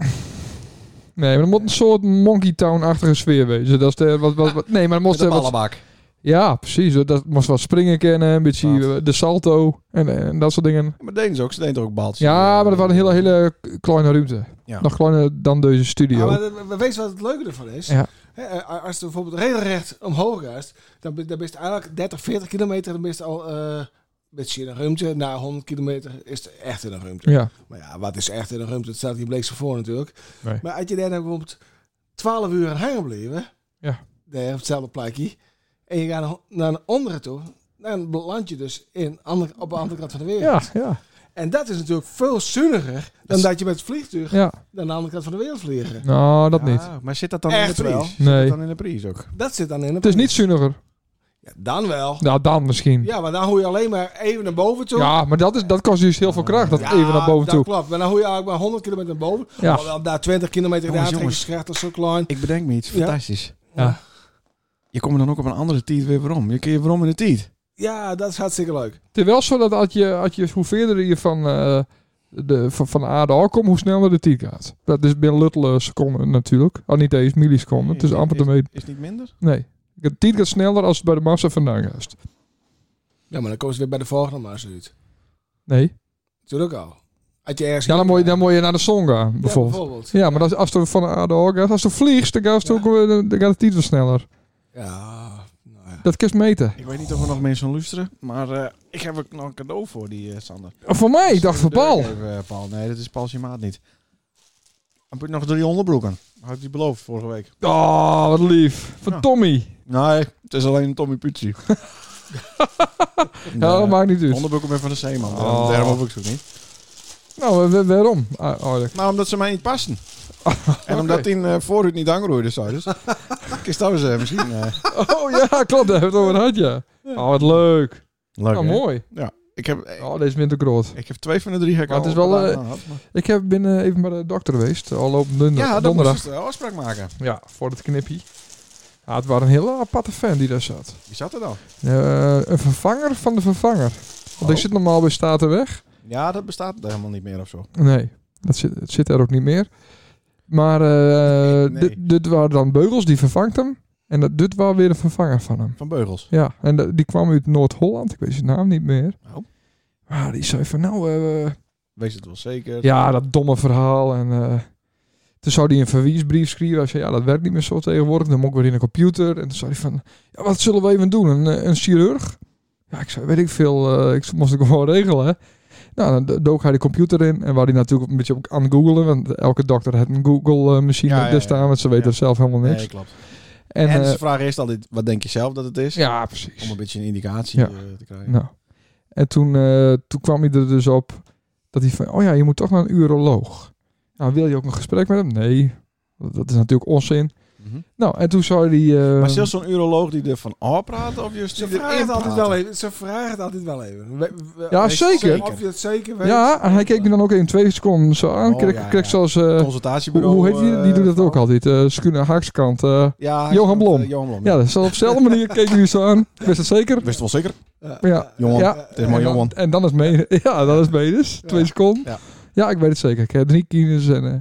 A: Nee, maar dan moet een soort Monkey Town-achtige sfeer wezen. Dat is de, wat, wat, wat- nee, maar dan moest er wat, Ja, precies. hoor. Dat moest wat springen kennen, een beetje
B: Wat?
A: eh, de salto en, en dat soort dingen.
B: maar deden ze ook. Ze deden ook baltjes.
A: Ja, maar dat was een hele, hele kleine ruimte.
B: Ja.
A: Nog kleiner dan deze studio.
G: Ah, maar dat- we- weet je wat het leuke ervan is?
A: Ja.
G: Hè, eh, als het bijvoorbeeld regelrecht omhoog gaat, dan ben dan ben je eigenlijk 30, 40 kilometer dan ben je al eh met je in een ruimte. Na 100 kilometer is het echt in een ruimte.
A: ja.
G: Maar ja, wat is echt in een ruimte? Dat staat hier bleek zo voor natuurlijk.
A: Nee.
G: Maar als je daar dan bijvoorbeeld 12 uur aan hangen bleven,
A: Ja.
G: daar op hetzelfde plekje, en je gaat naar- naar een andere toe, dan beland je dus in ander, op de andere kant van de wereld.
A: Ja, ja,
G: En dat is natuurlijk veel zuiniger dan dat je met het vliegtuig
A: ja.
G: naar de andere kant van de wereld vliegen.
A: Nou, dat niet.
B: Maar zit dat dan
G: Echt
B: in de
G: wel?
B: prijs? Zit
A: Nee.
B: dat dan in de prijs ook?
G: Dat zit dan in
A: Het is niet zuiniger.
G: Ja, dan wel.
A: Nou, dan misschien. Ja,
G: Ja, maar dan hoor je alleen maar even naar boven toe.
A: maar dat, is, dat kost dus heel veel kracht. Dat
G: Ja,
A: even naar boven
G: dat
A: toe.
G: klopt. Maar dan hoor je eigenlijk maar 100 kilometer naar boven.
A: Ja.
G: Ja. wel daar 20 kilometer in de
B: Jongens,
G: aantrekkingskracht of zo klein.
B: Ik bedenk me iets.
G: Ja.
B: Fantastisch.
A: Ja.
B: Je komt er dan ook op een andere tijd weer waarom. Je kun je waarom in de tijd.
G: Ja, dat is hartstikke leuk.
A: Het is wel zo dat als je, als je, hoe verder je van, eh, de, van, van de aarde afkomt, hoe sneller de tijd gaat. Dat is binnen luttele seconden natuurlijk. Al niet eens milliseconden. Het is amper te
B: Is-
A: meten.
B: Is het niet minder?
A: Nee. De tijd gaat sneller als het bij de massa vandaan gaat.
G: Ja, maar dan komen ze weer bij de volgende maar zoiets.
A: Nee.
G: Natuurlijk al. Had je ergens...
A: Ja, Dus dan moet je, dan moet je naar de zon gaan,
G: Ja,
A: bijvoorbeeld. Ja, maar dat is- als je van de aarde af gaat, als je vliegt, dan gaat het ook, eh, dan gaat de tijd wel sneller.
G: Ja, nou ja.
A: Dat kun je meten.
B: Ik weet niet of er nog mensen luisteren. Maar eh, ik heb ook nog een cadeau voor die eh, Sander.
A: Oh, Voor mij, ik dacht voor Paul.
B: Even, eh, Paul. Nee, dat is Paul's je maat niet. Dan moet je nog drie onderbroeken. Had ik die beloofd vorige week.
A: Oh, wat lief. Van
B: Ja.
A: Tommy.
B: Nee, het is alleen een Tommy Putzi.
A: Ja, dat Oh, maakt niet uit.
B: Onderbroeken ben van de Zeeman.
A: Oh.
B: Daarom heb ik zo niet.
A: Nou, eh, wa- waarom? Ah, oh, dat-
B: Maar Nou, omdat ze mij niet passen.
A: Oh,
B: En omdat die eh vooruit niet aangroeide, zou dus. Kist dat ze misschien. eh,
A: Oh ja, klopt. Daar hebben we het over gehad, ja. Oh, wat leuk.
B: Leuk.
A: Oh,
B: hè?
A: mooi.
B: Ik heb, eh,
A: Oh, deze is minder groot.
B: ik heb twee van de drie hekken.
A: Maar het is
B: al
A: wel, eh,
B: gedaan gehad, maar-
A: Ik heb binnen even bij de dokter geweest. Al op donder-
B: ja, dan
A: donderdag.
B: moest je een afspraak maken.
A: Ja, voor het knippie. Ah, het was een hele aparte fan die daar zat.
B: Wie zat er dan?
A: Eh, een vervanger van de vervanger. Want ik
B: Oh.
A: zit normaal bij Statenweg.
B: Ja, dat bestaat helemaal niet meer of zo.
A: Nee, dat zit, het zit er ook niet meer. Maar eh,
B: Nee.
A: dit, dit waren dan Beugels, die vervangt hem. En dat, dit was weer een vervanger van hem.
B: Van Beugels.
A: Ja, en dat- die kwam uit Noord-Holland. Ik weet zijn naam niet meer.
B: Oh.
A: Maar die zei van, nou, eh,
B: Wees het wel zeker.
A: Ja, dat domme verhaal. En eh, toen zou hij een verwiesbrief schrijven. Hij zei, ja, dat werkt niet meer zo tegenwoordig. Dan moet ik weer in een computer. En toen zei hij van, ja, wat zullen we even doen? Een, eh, een chirurg? Ja, ik zei, weet ik veel. eh, ik moest het gewoon regelen, hè. Nou, dan dook hij de computer in. En waar hij natuurlijk een beetje op aan het googelen. Want elke dokter heeft een Google-machine
B: Ja,
A: op
B: ja,
A: de
B: ja.
A: staan. Want ze weten
B: Ja.
A: er zelf helemaal niks.
B: nee, klopt.
A: en
B: En,
A: eh,
B: ze vragen eerst altijd, wat denk je zelf dat het is?
A: ja,
B: Om
A: precies.
B: een beetje een indicatie
A: Ja.
B: eh, te krijgen.
A: Nou. En toen, eh, toen kwam hij er dus op dat hij van, oh ja, je moet toch naar een uroloog. Nou, wil je ook een gesprek met hem? Nee, dat, dat is natuurlijk onzin.
B: Mhm.
A: Nou, en toen zou hij... eh,
B: Maar zelfs zo'n uroloog die er van af praat of juist
G: Ze
B: die
G: vragen, het
B: erin
G: altijd
B: praten?
G: wel even, ze vragen het altijd wel even. We- we-
A: Ja,
G: weet je
A: zeker.
G: Of je het zeker weet.
A: ja, en hij keek me dan ook in twee seconden zo aan.
B: Oh,
A: kreeg,
B: ja,
A: kreeg
B: ja.
A: zoals... eh, hoe,
B: Consultatiebureau.
A: hoe heet die? Die
B: eh,
A: doet dat ook
B: vrouw.
A: altijd. eh Skuna Haakskant. eh.
B: Ja,
A: Johan Blom.
B: eh, Johan Blom.
A: ja,
B: Ja.
A: dat is op dezelfde manier. Keek hij zo aan. Ik Wist het zeker?
B: Wist wel zeker?
A: Ja.
B: Johan.
A: Ja.
B: Het is maar
A: en, dan,
B: Johan.
A: en dan is mee. Ja, dat is mee dus. Twee seconden.
B: Ja.
A: Ja. ik weet het zeker. Ik heb drie kines en... eh,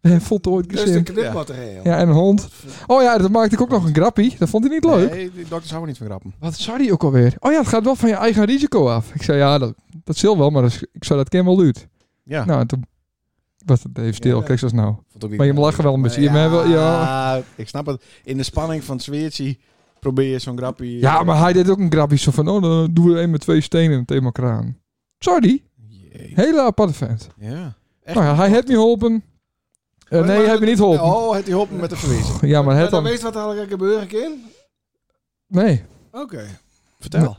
A: en voltooid
G: Dus de
A: gezin.
G: knipmat erin, joh.
A: Ja, en een hond. Oh ja, dat maakte ik ook nog een grappie. Dat vond hij niet leuk.
B: Nee, die dokters houden niet van grappen.
A: Wat zei hij ook alweer? Oh ja, het gaat wel van je eigen risico af. Ik zei, ja, dat, dat zil wel, maar dat, is- ik zei, dat ken wel uit.
B: Ja.
A: Nou, en toen was het even stil.
B: Ja.
A: Kijk, zoals nou.
B: Vond ook niet
A: Maar je
B: leuk.
A: lacht wel een beetje. Je
B: Maar
A: bent wel-
B: ja, ik snap het. In de spanning van het zweertje probeer je zo'n grappie...
A: Ja, maar hij deed ook een grappie zo van, oh, dan doen we één met twee stenen en het eenmaal kraan. Sorry,
B: Jee.
A: hele aparte vent.
B: Ja. Echt?
A: Nou ja, hij heeft me geholpen. Eh,
B: Maar-
A: nee, hij heeft me niet geholpen.
B: Oh, het die hoppen met de verwezen.
A: Ja, maar
G: Maar
A: het
G: dan
A: dan...
G: weet je wat er eigenlijk gebeuren kan?
A: Nee.
G: Oké.
A: Nou.
B: Vertel.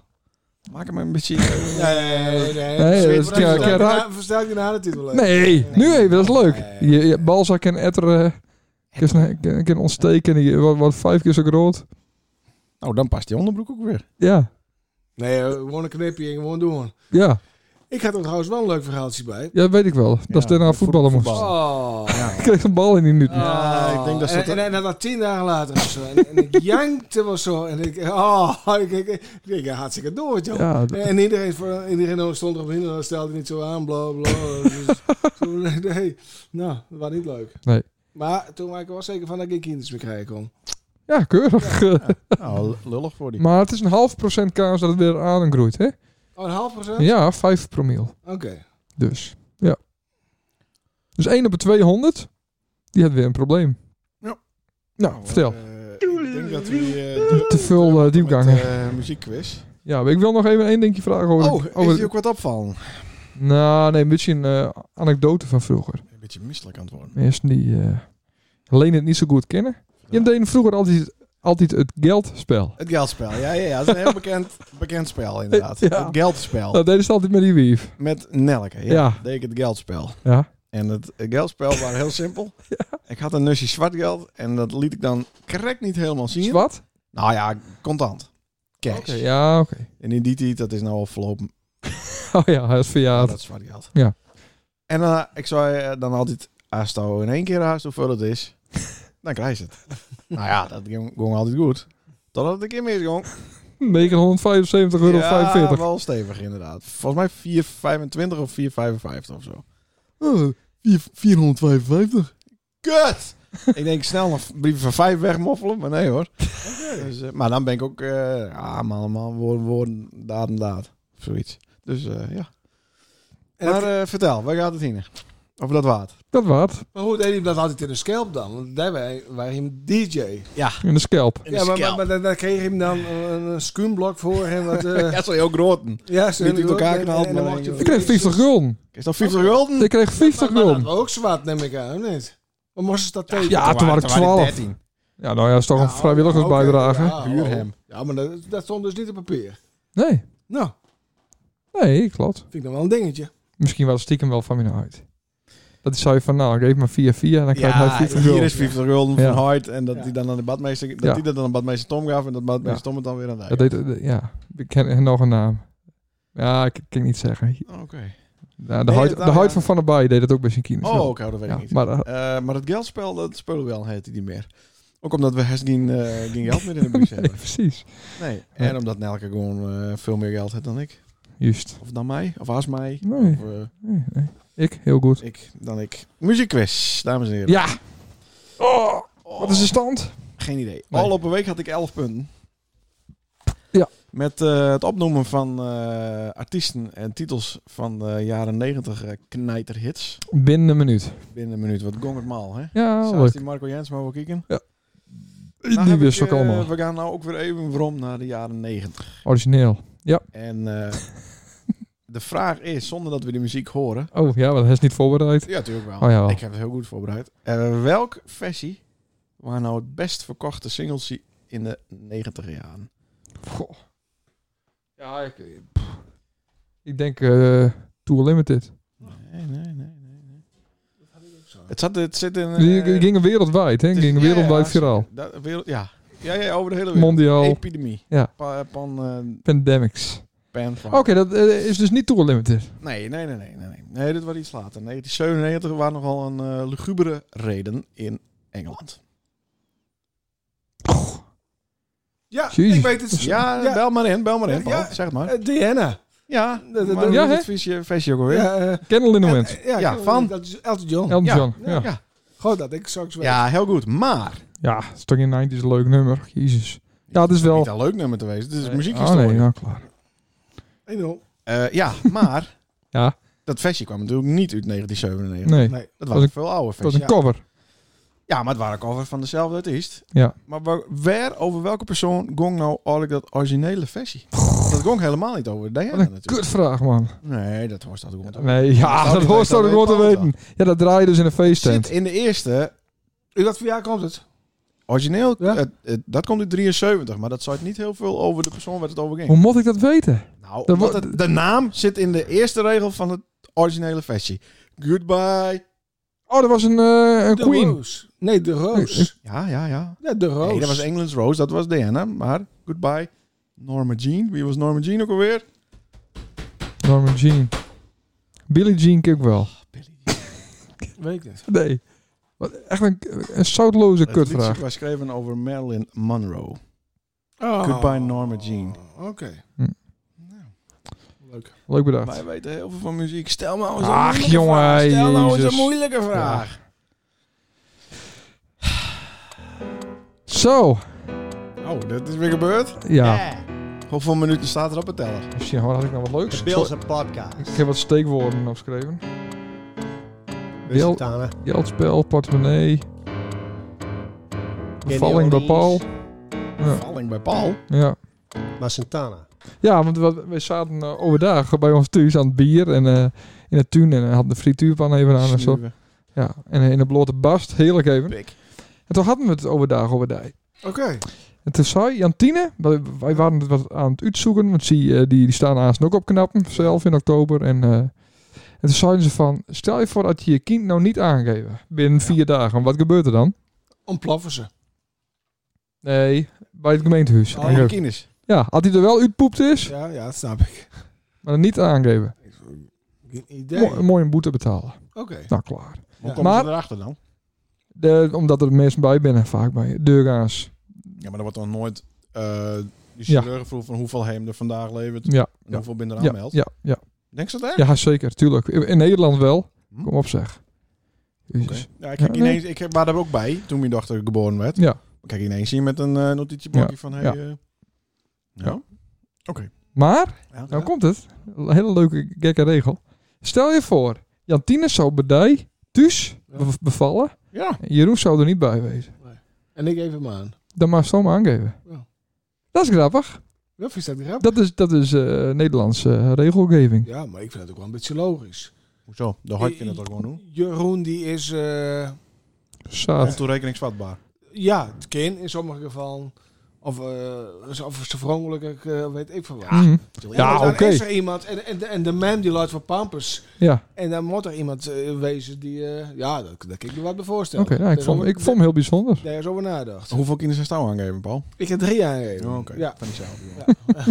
B: Maak hem een beetje...
G: Nee, nee, nee.
A: Nee,
G: Verstel-
A: dat is-
G: verstel-
A: ja, ja,
G: verstel-
A: raak-
G: Verstel ik de nadetitel even.
A: Nee, nu even, dat is leuk.
G: Nee.
A: Je, je balzak en etter eh, kun je- kun je ontsteken. Die wordt wordt vijf keer zo groot.
B: Nou, dan past die onderbroek ook weer.
A: Ja.
G: Nee, eh, gewoon een knipje en gewoon doen.
A: Ja,
G: Ik had er trouwens wel een leuk verhaaltje bij.
A: ja weet ik wel. Dat is daarna voetballen moest.
B: voetbal.
G: Oh.
A: Ik kreeg een bal in die minuten.
B: Ja, ik denk dat ze
G: en,
B: dat-
G: en, en dat was tien dagen later of zo. En, en ik jankte wel zo. En ik, oh, ik, ik, ik, ik ja, hartstikke door, joh.
A: Ja, d-
G: En iedereen, voor, iedereen stond erop in en stelde niet zo aan, bla bla. Dus, zo, nee, nou, dat was niet leuk.
A: Nee.
G: Maar toen was ik er wel zeker van dat ik geen kinders meer krijgen kon.
A: ja keurig.
B: Nou,
A: Oh.
B: l- lullig voor die.
A: Maar het is een half procent kans dat het weer aan groeit, hè?
G: Oh, een half procent?
A: Ja, 5 promiel.
G: Oké.
A: Dus, ja. Dus 1 op de 200, die had weer een probleem.
B: Ja.
A: Nou, vertel.
B: Eh, ik denk dat we eh, door-
A: Te veel, eh,
B: door moeten
A: diepgangen.
B: met, eh, muziekquiz.
A: Ja, maar ik wil nog even één dingje vragen over...
B: Oh,
A: over-
B: is je ook wat opvallen?
A: Nou, nee, een beetje een eh, anekdote van vroeger.
B: Een beetje misselijk aan het worden.
A: Mensen die eh, alleen het niet zo goed kennen. Je deed vroeger altijd, altijd het geldspel.
B: Het geldspel, ja, ja, ja. Dat is een heel bekend, bekend spel, inderdaad.
A: Ja.
B: Het geldspel.
A: Dat deden ze altijd met die wief.
B: Met Nelke, ja.
A: Ja.
B: Deed ik het geldspel.
A: Ja.
B: En het geldspel was heel simpel. Ik had een nusje zwart geld en dat liet ik dan correct niet helemaal zien.
A: Zwart?
B: Nou ja, contant. Cash.
A: Oké, ja, oké.
B: En in die tijd, dat is nou al verlopen,
A: Oh ja, hij is verjaard.
B: dat zwart geld.
A: Ja.
B: En eh, ik zou eh, dan altijd, als het al in één keer haast hoeveel het is, dan krijg je het. nou ja, dat ging, ging altijd goed. Totdat het een keer misging.
A: 975,45 euro.
B: Ja, wel stevig inderdaad. Volgens mij 4,25 of 4,55 of zo. 455. Kut! ik denk snel nog brieven van 5 wegmoffelen, maar nee hoor. Dus, eh, maar dan ben ik ook, eh ja man, man, woorden, woorden, daad en daad. Of zoiets. Dus eh, ja.
G: En
B: maar
G: dat-
B: eh, vertel, waar gaat het heen? Over dat water.
A: Dat waard.
G: maar hoe deed hij dat altijd in de scalp dan? Want daar waren wij hem DJ.
A: In de scalp.
G: Ja, maar, maar, maar daar- daar kreeg hij hem dan eh, een schuimblok voor. En wat, eh,
B: Ja, zo heel groten.
G: ja, zo
B: Niet uit elkaar
G: en- en-
B: knalt,
G: en dan
B: maar-
G: mocht je-
A: Ik kreeg 50 gulden.
B: Is dat 50 gulden?
A: Ik kreeg 50
G: Maar dat
A: gulden.
G: was ook zwart, neem ik aan, of niet? Maar moesten ze dat tegen?
A: Ja, toen waren ik 12.
B: 13.
A: Ja, nou ja, dat is toch een vrijwilligersbijdrage.
B: Huur
G: Huur
B: hem.
G: hem. Ja, maar dat, dat stond dus niet op papier.
A: Nee,
G: Nou,
A: nee, klopt.
G: vind ik dan wel een dingetje.
A: Misschien wel stiekem wel van mijn uit. Dat zou je van, nou, geef maar 4 4 en dan krijgt hij
B: Ja,
A: 50
B: hier
A: gulden.
B: is 50 gulden
A: Ja.
B: van Hart en dat
G: Ja.
B: die dan aan de badmeester, dat
A: Ja.
B: die dat dan aan badmeester Tom gaf en dat badmeester Tom het dan weer aan de
A: Dat deed, eh, ja, ik ken nog een naam. Ja, ik kan ik niet zeggen.
B: Oh, Oké.
A: Ja, de
B: Nee,
A: huid,
B: nou
A: de
B: ja.
A: huid van Van der Baai deed dat ook bij zijn kinderen.
B: Oh, oké, dat weet
A: ja,
B: ik niet.
A: maar eh,
B: Eh, maar het geldspel, dat spelen we wel, heet die niet meer. Ook omdat we geen, eh geen geld meer in de bus
A: nee,
B: hebben.
A: precies.
B: Nee. En omdat Nelke gewoon eh, veel meer geld heeft dan ik.
A: Juist.
B: Of dan mij. Of als mij.
A: Nee,
B: Of eh,
A: nee, nee. Ik, heel goed.
B: ik dan ik. Muziekquiz, dames en heren.
A: Ja! Oh, wat is de stand?
B: Geen idee.
A: Nee.
B: Al op een week had ik 11 punten.
A: Ja.
B: Met eh, het opnoemen van eh, artiesten en titels van de jaren 90 eh, knijterhits.
A: Binnen een minuut.
B: Binnen een minuut, wat gong het maal, hè?
A: Ja,
B: Zou
A: Oh, leuk.
B: die Marco Jens maar wel kijken?
A: Die
B: heb
A: wist
B: ik,
A: ook
B: eh,
A: allemaal.
B: We gaan nou ook weer even waarom naar de jaren 90.
A: Origineel.
B: En eh, de vraag is, zonder dat we de muziek horen...
A: Oh ja, want hij is niet voorbereid.
B: Ja, natuurlijk wel.
A: Oh, jawel.
B: Ik heb het heel goed voorbereid. Eh, welk versie waren nou het best verkochte singles in de 90 jaren?
A: Goh. Ja, ik... pff. Ik denk eh Tour Limited.
B: Nee, nee, nee. nee, nee. Het, zat, het zit in... eh,
A: Die die gingen wereldwijd, hè?
B: het is-
A: Gingen
B: ja, ja,
A: wereldwijd
B: ja,
A: viraal.
B: dat- wereld, ja. Ja, ja, over de hele wereld.
A: Mondiaal,
B: Epidemie.
A: Ja.
B: Pa- pan... eh,
A: pandemics.
B: pan
A: Oké, dat eh, is dus niet Tour Limited.
B: Nee, nee, nee, nee, nee. nee. Nee, dit was iets later. 1997 waren nogal een eh, lugubere reden in Engeland.
G: Ja,
A: Jezus.
G: ik weet het.
B: Ja, bel maar in, bel maar in.
G: Ja,
B: Paul.
G: ja.
B: Zeg het maar.
G: Eh, Diana.
B: Ja,
G: dat- dat-
B: maar
A: ja,
B: ja,
A: hè?
B: het visje, visje ook alweer. Ja,
G: Ja, eh,
A: Kennel in the Wind.
G: ja,
B: Ja,
G: ik-
B: van-
G: Dat is Elton John.
A: Elton
B: ja,
A: John. Ja, ja.
B: ja.
G: Goed, dat ik straks wel.
B: heel goed. Maar...
A: is toch in 90 een leuk nummer. Jezus. Ja, het is wel-
B: Niet een leuk nummer te wezen. Dit is
A: Oh
B: muziekhistorie.
A: nee, nou klaar.
B: Eh, ja, maar...
A: Ja.
B: Dat vestje kwam natuurlijk niet uit 1997.
A: Nee,
G: Nee.
A: was
B: Dat waren
A: een-
B: veel oude
A: het was
B: vestjes.
A: een cover.
B: Ja, maar het waren covers van dezelfde artiest.
A: Ja.
B: Maar wa- waar, over welke persoon gong nou eigenlijk dat originele versie? Dat gong helemaal niet over Diana
A: Wat een
B: natuurlijk.
A: kutvraag, man.
B: Nee, dat hoort dat gewoon. te-
A: Nee, ja,
B: zou
A: dat
B: die
A: hoort
B: weten,
A: toch gewoon te
B: dat weet
A: weten. Ja, dat draai je dus in een
B: Zit
A: feesttent.
B: in de eerste
G: U dat voor jou komt het?
B: origineel,
G: Ja.
B: het- het- dat komt uit 73, maar dat zei het niet heel veel over de persoon waar het over ging.
A: Hoe moet ik dat weten?
B: Nou,
A: Dat
B: omdat
A: wordt-
B: het- de naam zit in de eerste regel van het originele versie. Goodbye.
A: Oh, dat was een, eh, een
G: De
A: queen.
G: Roos. Nee, de Roos.
B: Ja, ja, ja.
G: Ja, de Roos.
B: Nee, dat was England's Rose, dat was Diana, maar Goodbye Norma Jean. Wie was Norma Jean ook alweer?
A: Norman Jean. Billie Jean ken ik wel.
G: Weet ik niet.
A: Nee. Wat, echt een, een zoutloze
B: Het liedje
A: kutvraag.
B: was geschreven over Marilyn Monroe.
G: Oh.
B: Goodbye Norma Jean.
G: Oké.
A: Hm.
B: Nou,
G: Leuk.
A: Leuk bedacht.
B: Wij weten heel veel van muziek. Stel nou eens een
A: Ach,
B: moeilijke
A: jongen,
B: vraag. Stel nou eens
A: Jezus.
B: een moeilijke vraag.
A: Zo.
B: Oh, dat is weer gebeurd.
A: Ja.
B: Hoeveel minuten staat er op het teller?
A: Misschien had ik nog wat leuks.
C: De Bilse podcast.
A: Ik heb wat steekwoorden opgeschreven. Geld,
C: Tana.
A: geldspel, portemonnee. Bevalling bij Paul. Ja.
B: Valling bij Paul.
A: Ja.
C: Maar Santana.
A: Ja, want we, we zaten eh, overdag bij ons thuis aan het bier en eh, in het tuin en eh, hadden de frituurpan even aan en zo.
B: Snuwen.
A: Ja, en eh, in de blote bast, heerlijk even.
B: Pik.
A: En toen hadden we het overdag overdag.
G: Oké.
A: En toen zei Jantine, wij- wij waren het wat aan het uitzoeken, want die, eh, die, die staan haast ook op knappen, zelf in oktober. En, eh, en toen zeiden ze van, stel je voor dat je je kind nou niet aangeven binnen vier dagen, wat gebeurt er dan?
G: Ontploffen ze.
A: Nee, bij het gemeentehuis.
G: Oh,
A: Aangeven.
B: Kines.
A: ja, had hij er wel uitpoept is,
G: Ja, ja, dat snap ik.
A: maar dan niet aangeven.
G: Geen idee.
A: Mooi, mooi een boete betalen.
G: Oké.
A: Nou, klaar.
B: Hoe
G: Ja.
B: komen
A: Maar-
B: ze erachter dan?
A: De, omdat er mensen bij binnen, vaak bij deurgaans.
B: Ja, maar er wordt dan nooit... eh die
A: Ja.
B: chirurg vroeg van hoeveel heem er vandaag levert.
A: Ja,
B: En hoeveel binnen er
A: ja,
B: aanmeldt.
A: ja, ja,
B: Denk ze dat echt?
A: ja, zeker, tuurlijk. In in Nederland wel.
B: Hm?
A: Kom op zeg.
B: Oké.
G: Dus-
A: Jezus.
B: Ja, ik, kijk
A: Ja, nee.
B: ineens, ik was daar ook bij toen mijn dochter geboren werd.
A: Ja.
B: Kijk, ineens zie je met een eh, notitieblokje van... Hey,
A: ja.
B: eh,
A: Ja.
B: ja. Oké.
A: Maar,
B: Ja.
A: nou komt het. Een hele leuke gekke regel. Stel je voor, Jantine zou bedij thuis
G: Ja.
A: bev- bevallen.
B: Ja.
A: En Jeroen zou er niet bij wezen.
G: En ik even hem aan.
A: Dan maar zomaar aangeven.
G: Ja.
A: Dat is grappig.
G: Dat vind ik dat grappig.
A: Dat is, dat is eh, Nederlandse eh, regelgeving.
G: Ja, maar ik vind het ook wel een beetje logisch.
B: Hoezo? Dan had je het ook gewoon doen.
G: Jeroen die is, eh,
A: Saat.
B: Ontoerekeningsvatbaar.
G: ja, het kind in sommige gevallen. Of, eh of ze verongelukkig, eh, weet ik veel wat.
A: Mhm. Ja,
G: maar dan
A: oké.
G: is er iemand, en, en, de- en de man die luidt voor pampers.
A: Ja,
G: En dan moet er iemand eh, wezen die, eh, ja, dat, dat kan ik me wat bij
A: oké.
G: voorstellen.
A: nou, ik, vond, ik vond hem heel bijzonder.
G: Daar is over nagedacht.
B: Hoeveel kinderen zijn jou aangeven, Paul?
G: Ik heb drie aangegeven.
B: Oh,
G: Ja.
B: Van diezelfde. jongen.
G: Ja.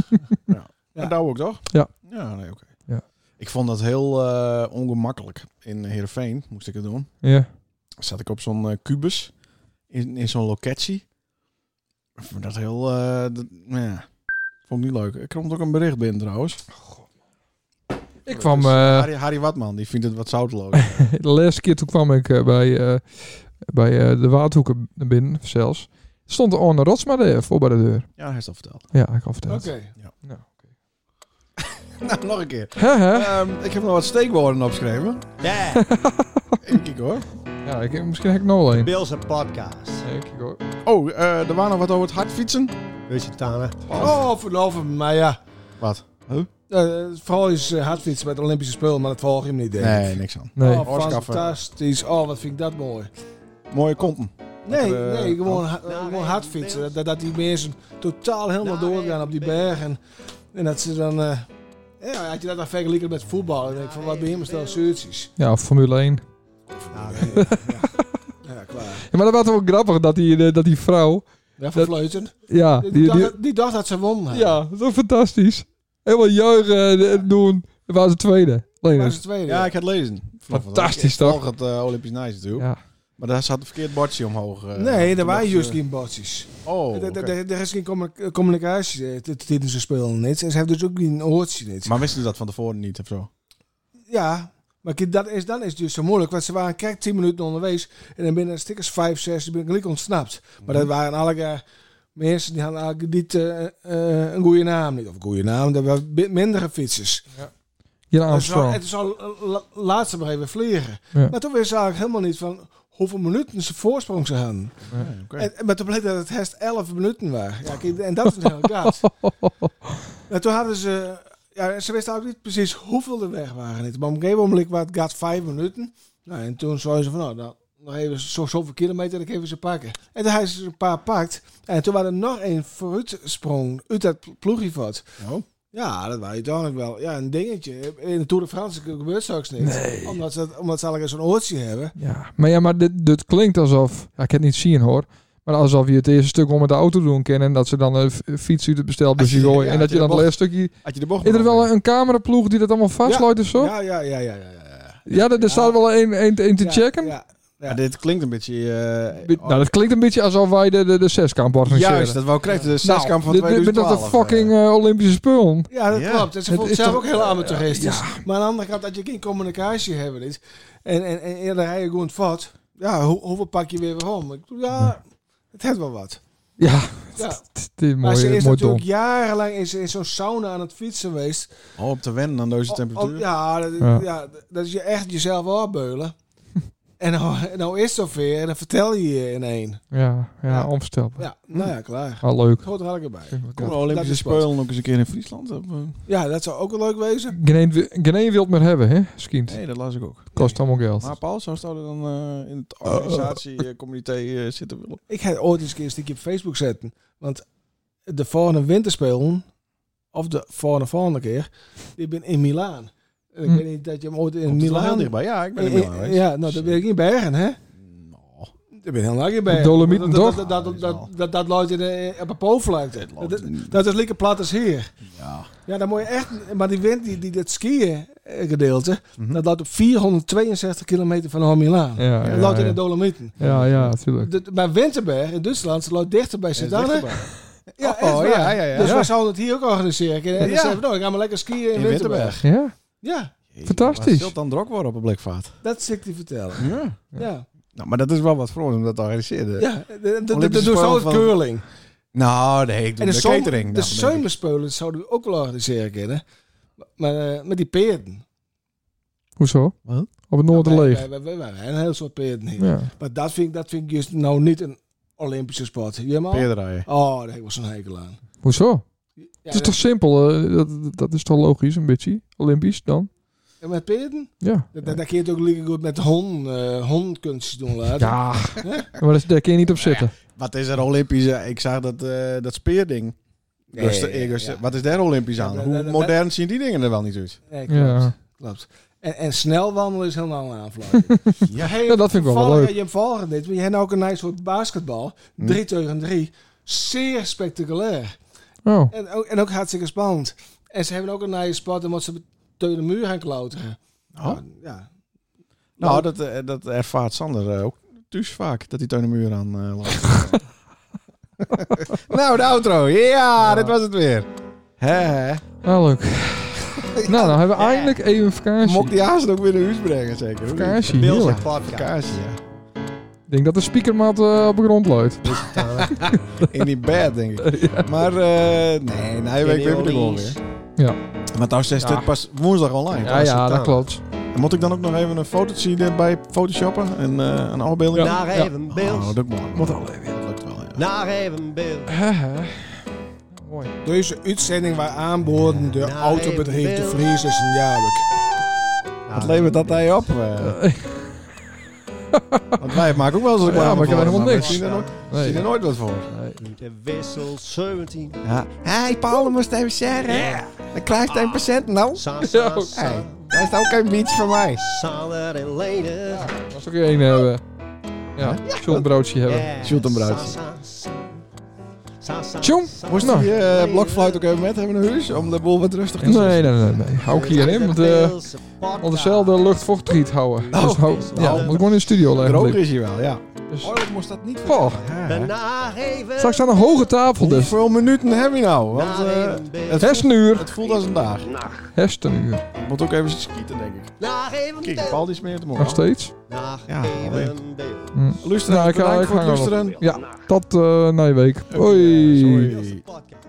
B: Ja.
G: Ja.
B: En daar ook, toch?
A: Ja.
B: Ja, nee, oké.
A: Ja.
B: Ik vond dat heel eh, ongemakkelijk. In Heerenveen moest ik het doen.
A: Ja.
B: Zat ik op zo'n eh, kubus. In, in zo'n locatie. Ik vond dat heel... eh, dat- ja. Vond ik niet leuk. Er komt ook een bericht binnen trouwens.
A: Ik kwam...
B: Dus, eh,
A: eh,
B: Harry, Harry Watman, die vindt het wat zoutloos.
A: De laatste keer toen kwam ik eh, bij, eh, bij eh, de Waardhoeken naar binnen, zelfs. Stond er Arne Rotsma daar voor bij de deur.
B: ja, hij heeft al verteld.
A: Ja, ik al verteld.
G: Oké.
A: Nou, oké.
B: nou, nog een keer.
A: Hè, hè?
B: Ehm, ik heb nog wat steekwoorden opgeschreven.
C: Ja.
B: Even kijken hoor.
A: Ja, ik, misschien heb ik nog wel
C: De
A: een.
C: Bilse podcast.
A: Nee, kijk hoor.
B: Oh, eh, er waren nog wat over het hard fietsen.
C: Santana.
G: Oh, vanaf maar ja.
B: Wat?
G: Eh, vooral is eh, hardfietsen met de Olympische Spelen, maar dat volg je hem niet, denk ik.
B: Nee, niks aan.
A: Nee.
G: Oh,
B: Oscar
G: fantastisch. Oh, wat vind ik dat mooi.
B: Mooie konten.
G: Nee,
B: er, eh,
G: nee, gewoon, ha-
C: Nou,
G: gewoon
C: nee,
G: hard
C: nee.
G: fietsen. Dat, dat die mensen totaal helemaal
C: Nou,
G: doorgaan
C: nee,
G: op die
C: nee.
G: bergen. En dat ze dan... eh, ja, had je dat dan vergeleken met voetbal? Dan denk ik van, wat ben je met stel zuurtjes?
A: Ja, of Formule 1.
C: Ja,
G: Ja, klaar.
A: Ja, maar dat was toch wel grappig dat die, eh, dat die vrouw...
G: Ja, van
A: Dat-
G: Vleuten.
A: Ja,
G: Die,
A: die, die,
G: dacht, die dacht dat ze won. hè.
A: ja dat was fantastisch. Helemaal juichen en, en doen. We waren ze tweede. Alleen
G: Maar
A: het-
G: ze tweede.
B: Ja, ik had lezen. Vanochtend.
A: Fantastisch,
B: Ik
A: toch?
B: volg het eh, Olympisch Nice natuurlijk.
A: Ja.
B: Maar daar zat een verkeerd bordje omhoog. eh,
G: nee,
B: toen
G: er waren
B: dacht
G: juist
B: ze-
G: geen botjes.
B: Oh,
G: Er- er-
B: oké.
G: Er er is geen commu- communicatie eh, t- tijdens de spelen niet. En ze hebben dus ook geen oortje niet.
B: Maar wisten ze dat van tevoren niet of zo?
G: Ja, maar kijk, dat is, dan is het dus zo moeilijk. Want ze waren kijk 10 minuten onderwees. En dan binnen stickers 5, 6, die ben ik gelijk ontsnapt. Maar
B: Mhm.
G: dat waren alle mensen die hadden eigenlijk niet eh, eh, een goede naam. Niet, of een goede naam, dat waren bi- mindere fietsers.
A: Jan
G: Het is al-
A: Armstrong.
G: het is al eh, la- laat ze maar even vliegen.
A: Ja.
G: Maar toen wist ze eigenlijk helemaal niet van hoeveel minuten ze voorsprong ze hadden.
B: Nee, oké.
G: En, maar toen bleek dat het herst 11 minuten waren. Ja, kijk, en dat is heel gaat. Maar toen hadden ze... Ja, ze wisten ook niet precies hoeveel er weg waren. Niet. Maar op een gegeven moment was het gaat vijf minuten. Nou, en toen zeiden ze van, nou, dan nog even zo, zoveel kilometer, dan even ze pakken. En toen hebben ze een paar pakt. En toen was er nog één vooruitsprong uit dat pl- ploegievat.
B: Oh.
G: Ja, dat was uiteindelijk wel ja, een dingetje. In de Tour de France gebeurt straks niks. Omdat ze, omdat ze eigenlijk zo'n oortje hebben.
A: Ja, maar, ja, maar dit, dit klinkt alsof... Ja, ik kan het niet zien hoor. Maar alsof je het eerste stuk wel met de auto doen kennen. En dat ze dan een f- fiets uit het bestelbusje
B: Als je-
A: gooien.
B: ja,
A: en
B: als
A: dat
B: je
A: je dan
B: de
A: het laatste stukje...
B: Had je de bocht
A: Is er
B: nog
A: wel
B: in?
A: een cameraploeg die dat allemaal vastsluit of zo? Ja,
B: Ja, ja, ja, ja, ja. ja, ja.
A: er, er staat wel een, een, een te
G: Ja,
A: checken.
G: Ja,
B: Ja, dit klinkt een beetje... eh,
A: Bi- Nou, dat klinkt een beetje alsof wij de, de, de zeskamp organiseren.
B: Juist, dat wou ik krijgen. De
A: Nou,
B: zeskamp van
A: dit- dit- dit is toch
B: 2012.
A: de fucking eh, Olympische spullen.
G: ja, dat
C: Ja.
G: klopt. En ze
A: Het
G: voelt
A: is
G: zelf
A: toch-
G: ook heel amateuristisch. Maar aan de andere kant, dat je geen communicatie hebt is, en, en, en eerder rij je gewoon fout. Ja, hoe, hoeveel pak je weer weer om? Ik bedoel, ja, het heeft wel wat.
A: Ja,
G: Ja.
A: het is
G: Maar ze
A: mooi,
G: is
A: mooi dom.
G: natuurlijk jarenlang in, in zo'n sauna aan het fietsen geweest.
B: Oh, op te wennen aan deze
G: Om- om-
B: temperatuur.
G: ja, dat,
A: Ja.
G: ja. dat is je echt jezelf opbeulen. en nou, nou is het zover en dan vertel je je in één.
A: Ja, ja,
G: Ja.
A: onvelstelbaar.
G: Ja, nou ja, klaar.
A: Ah, leuk.
G: Het hoort er eigenlijk bij.
B: Kom de
G: Dat
B: Olympische
G: is sport.
B: Spelen ook eens een keer in Friesland. Op, eh,
G: Ja, dat zou ook wel leuk wezen.
A: Geen een wi- geen een wilt meer hebben, hè? Skind.
B: Nee, dat las ik ook.
A: Kost allemaal geld.
B: Maar Paul, zou zouden dan eh, in het organisatiecomité eh, zitten willen?
G: Ik ga ooit eens een keer een stukje op Facebook zetten. Want de volgende winterspelen, of de volgende volgende keer, die ben in Milaan. En Ik
A: Hm.
G: weet niet dat je hem ooit in
B: Komt het wel heel
G: Milaan...
B: dichtbij. Ja, ik ben in
G: Eh, eh,
B: Milaan geweest.
G: Ja, nou, dat ben ik in Bergen, hè?
B: Nou.
G: Ik ben heel lang in Bergen.
A: Dolomieten,
G: Dat-
A: toch?
G: Dat, dat, dat, dat, dat, dat loopt in de- op een poolvlakte.
B: loopt
G: Dat,
B: niet.
G: dat is lekker plat als hier.
B: Ja.
G: Ja, dan moet je echt... Maar die wind, die, die, dat skiën eh, gedeelte,
B: Mhm.
G: dat loopt op 462 kilometer van Milaan.
A: Ja, ja,
G: dat loopt in
A: ja.
G: de Dolomieten.
A: Ja, ja, natuurlijk.
G: De- maar Winterberg in Duitsland loopt dichter bij Sedanne. Ja,
B: Oh,
G: echt waar.
B: ja, ja, ja.
G: Dus
A: Ja.
G: we zouden het hier ook organiseren. En dan
B: Ja.
G: zeggen we, nou, we gaan maar lekker skiën in,
B: In
G: Winterberg.
B: Winterberg.
A: Ja?
G: Ja,
A: Fantastisch.
B: Maar zult dan drok worden op een blikvaart.
G: dat zit ik te vertellen.
B: Ja.
G: Ja,
B: Nou, maar dat is wel wat voor ons om dat te organiseren.
G: ja. dat- dat- dat
B: Eh, Olympische
G: doen ze
B: Spelen
G: altijd
B: van-
G: curling.
B: Nou, nee, ik doe
G: En de,
B: de
G: zomer-
B: catering.
G: de
B: dan, denk ik.
G: zomerspelen zouden we ook wel organiseren kunnen. Maar eh, met die peerden.
A: Hoezo?
B: Wat?
A: Op het noorden
G: Wij-
A: leeg.
G: wij- wij- wij- wij hebben een heel soort peerden hier.
A: Ja.
G: Maar dat vind, ik- dat vind ik juist nou niet een Olympische sport. Je maar.
B: Peerdraaien.
G: Oh, daar heb ik wel zo'n hekel aan.
A: Hoezo?
G: Ja,
A: het is toch simpel? eh, dat, dat is toch logisch, een beetje? Olympisch dan?
G: en met peerden?
A: Ja.
G: Dat, dat, dat kun je het ook lekker goed met hon, eh hondenkunstjes doen laten.
A: Ja. Maar dat- daar kun je niet op zitten.
B: Wat is er Olympische? Ik zag dat, eh, dat speerding. Dus de-
G: ja,
B: dus,
G: ja.
B: Wat is daar Olympisch aan?
G: Ja,
B: Hoe
G: dat- dat-
B: modern zien die dingen er wel niet uit?
G: Nee, klopt.
A: Ja.
G: klopt. En, en snel wandelen is helemaal een aanvlag. ja. Hey,
A: Ja, dat vind ik wel
G: toevallig
A: leuk.
G: heb Je hem volgen dit, want je hebt ook een nice soort basketbal.
B: Hm.
G: 3 tegen 3. Zeer spectaculair.
A: Oh.
G: En ook, en ook hartstikke spannend. En ze hebben ook een nice spot omdat ze tegen de muur gaan klauteren.
B: Oh.
G: Ja.
B: Nou, dat, eh, dat ervaart Sander eh, ook thuis vaak. Dat hij tegen de muur aan eh, loopt. nou, de outro. Ja, dit was het weer. Hè, hè.
A: Ah, leuk. Nou, dan hebben we eindelijk even vakantie.
B: Mocht die haast ook weer naar huis brengen, zeker. of niet?
A: Vakantie,
C: Beelse
A: heerlijk.
C: podcast.
B: Vakantie, ja.
A: Ik denk dat de speakermat eh, op de grond luidt.
B: In die bed, denk ik. Maar, eh, nee, na je week weer met de goal weer.
A: Ja.
B: Maar trouwens, is dit
C: Ja.
B: pas woensdag online.
A: Ja, ja, dat kloklopt.
B: En Moet ik dan ook nog even een foto zien erbij photoshoppen? En eh, een afbeelding?
C: Naar even
B: Oh,
C: Beels.
B: dat moet, moet al even. Dat lukt wel, ja.
C: Naar even Beels.
A: Hè, hè. Mooi.
G: Deze uitzending waar aanboden de
C: Nou,
G: autobedrijf
C: even
G: de
C: beeld.
G: Vries is een jaarlijk.
B: Wat
C: Nou,
B: levert dat hij op? eh? Want wij maken ook wel eens reclame
A: Ja, maar ik heb
B: voor,
A: helemaal
B: maar we
A: niks.
B: zien er nooit- we zien er nooit wat voor.
C: De wissel 17.
B: Ja. hey, Paul, moest even zeggen. Dan krijgt hij een patiënt nou.
C: Ah. Sa, sa,
B: Hey,
C: sa.
B: daar is ook een beach van mij.
C: Sander en Lene.
A: Als ik er één hebben. Ja, ik zal een broodje hebben.
C: Yeah.
B: Sjoerd en Bruidje.
C: Sa, sa, sa. Sa, sa,
A: Tjong,
C: sa.
B: Moest
A: Nou.
B: die eh, blokfluit ook even met hebben naar huis? Om de boel wat rustig te
A: Nee, nee, nee, nee. Hou ik hierin, want eh al dezelfde luchtvochtigheid houden.
C: Oh.
A: Dus hou, ja, moet ik gewoon in de studio
B: De rook
A: leggen.
B: is hier wel, ja.
A: Dus-
B: Oh, ik moest dat niet
A: Goh.
B: vertellen. Ja, hè.
C: Daarna even.
A: Straks aan een hoge tafel dus.
B: Hoeveel minuten heb je nou? Want
C: Naar
B: eh,
C: even Beels.
B: het, voelt,
A: Hersenuur.
B: het voelt als een dag.
A: Hersenuur.
B: Ik moet ook even schieten, denk ik.
C: Naar even
B: Kijk,
C: Beels.
B: Paul die smeert hem
A: Nog
B: op.
A: steeds.
C: Naar
B: Ja,
C: even Beels.
B: Luisteren,
A: Nou, ik ga-
B: bedankt
A: ik
B: voor het
A: ga nog.
B: luisteren.
A: Ja, tot eh na je week. Hoi.
B: Sorry.
C: Beelse podcast.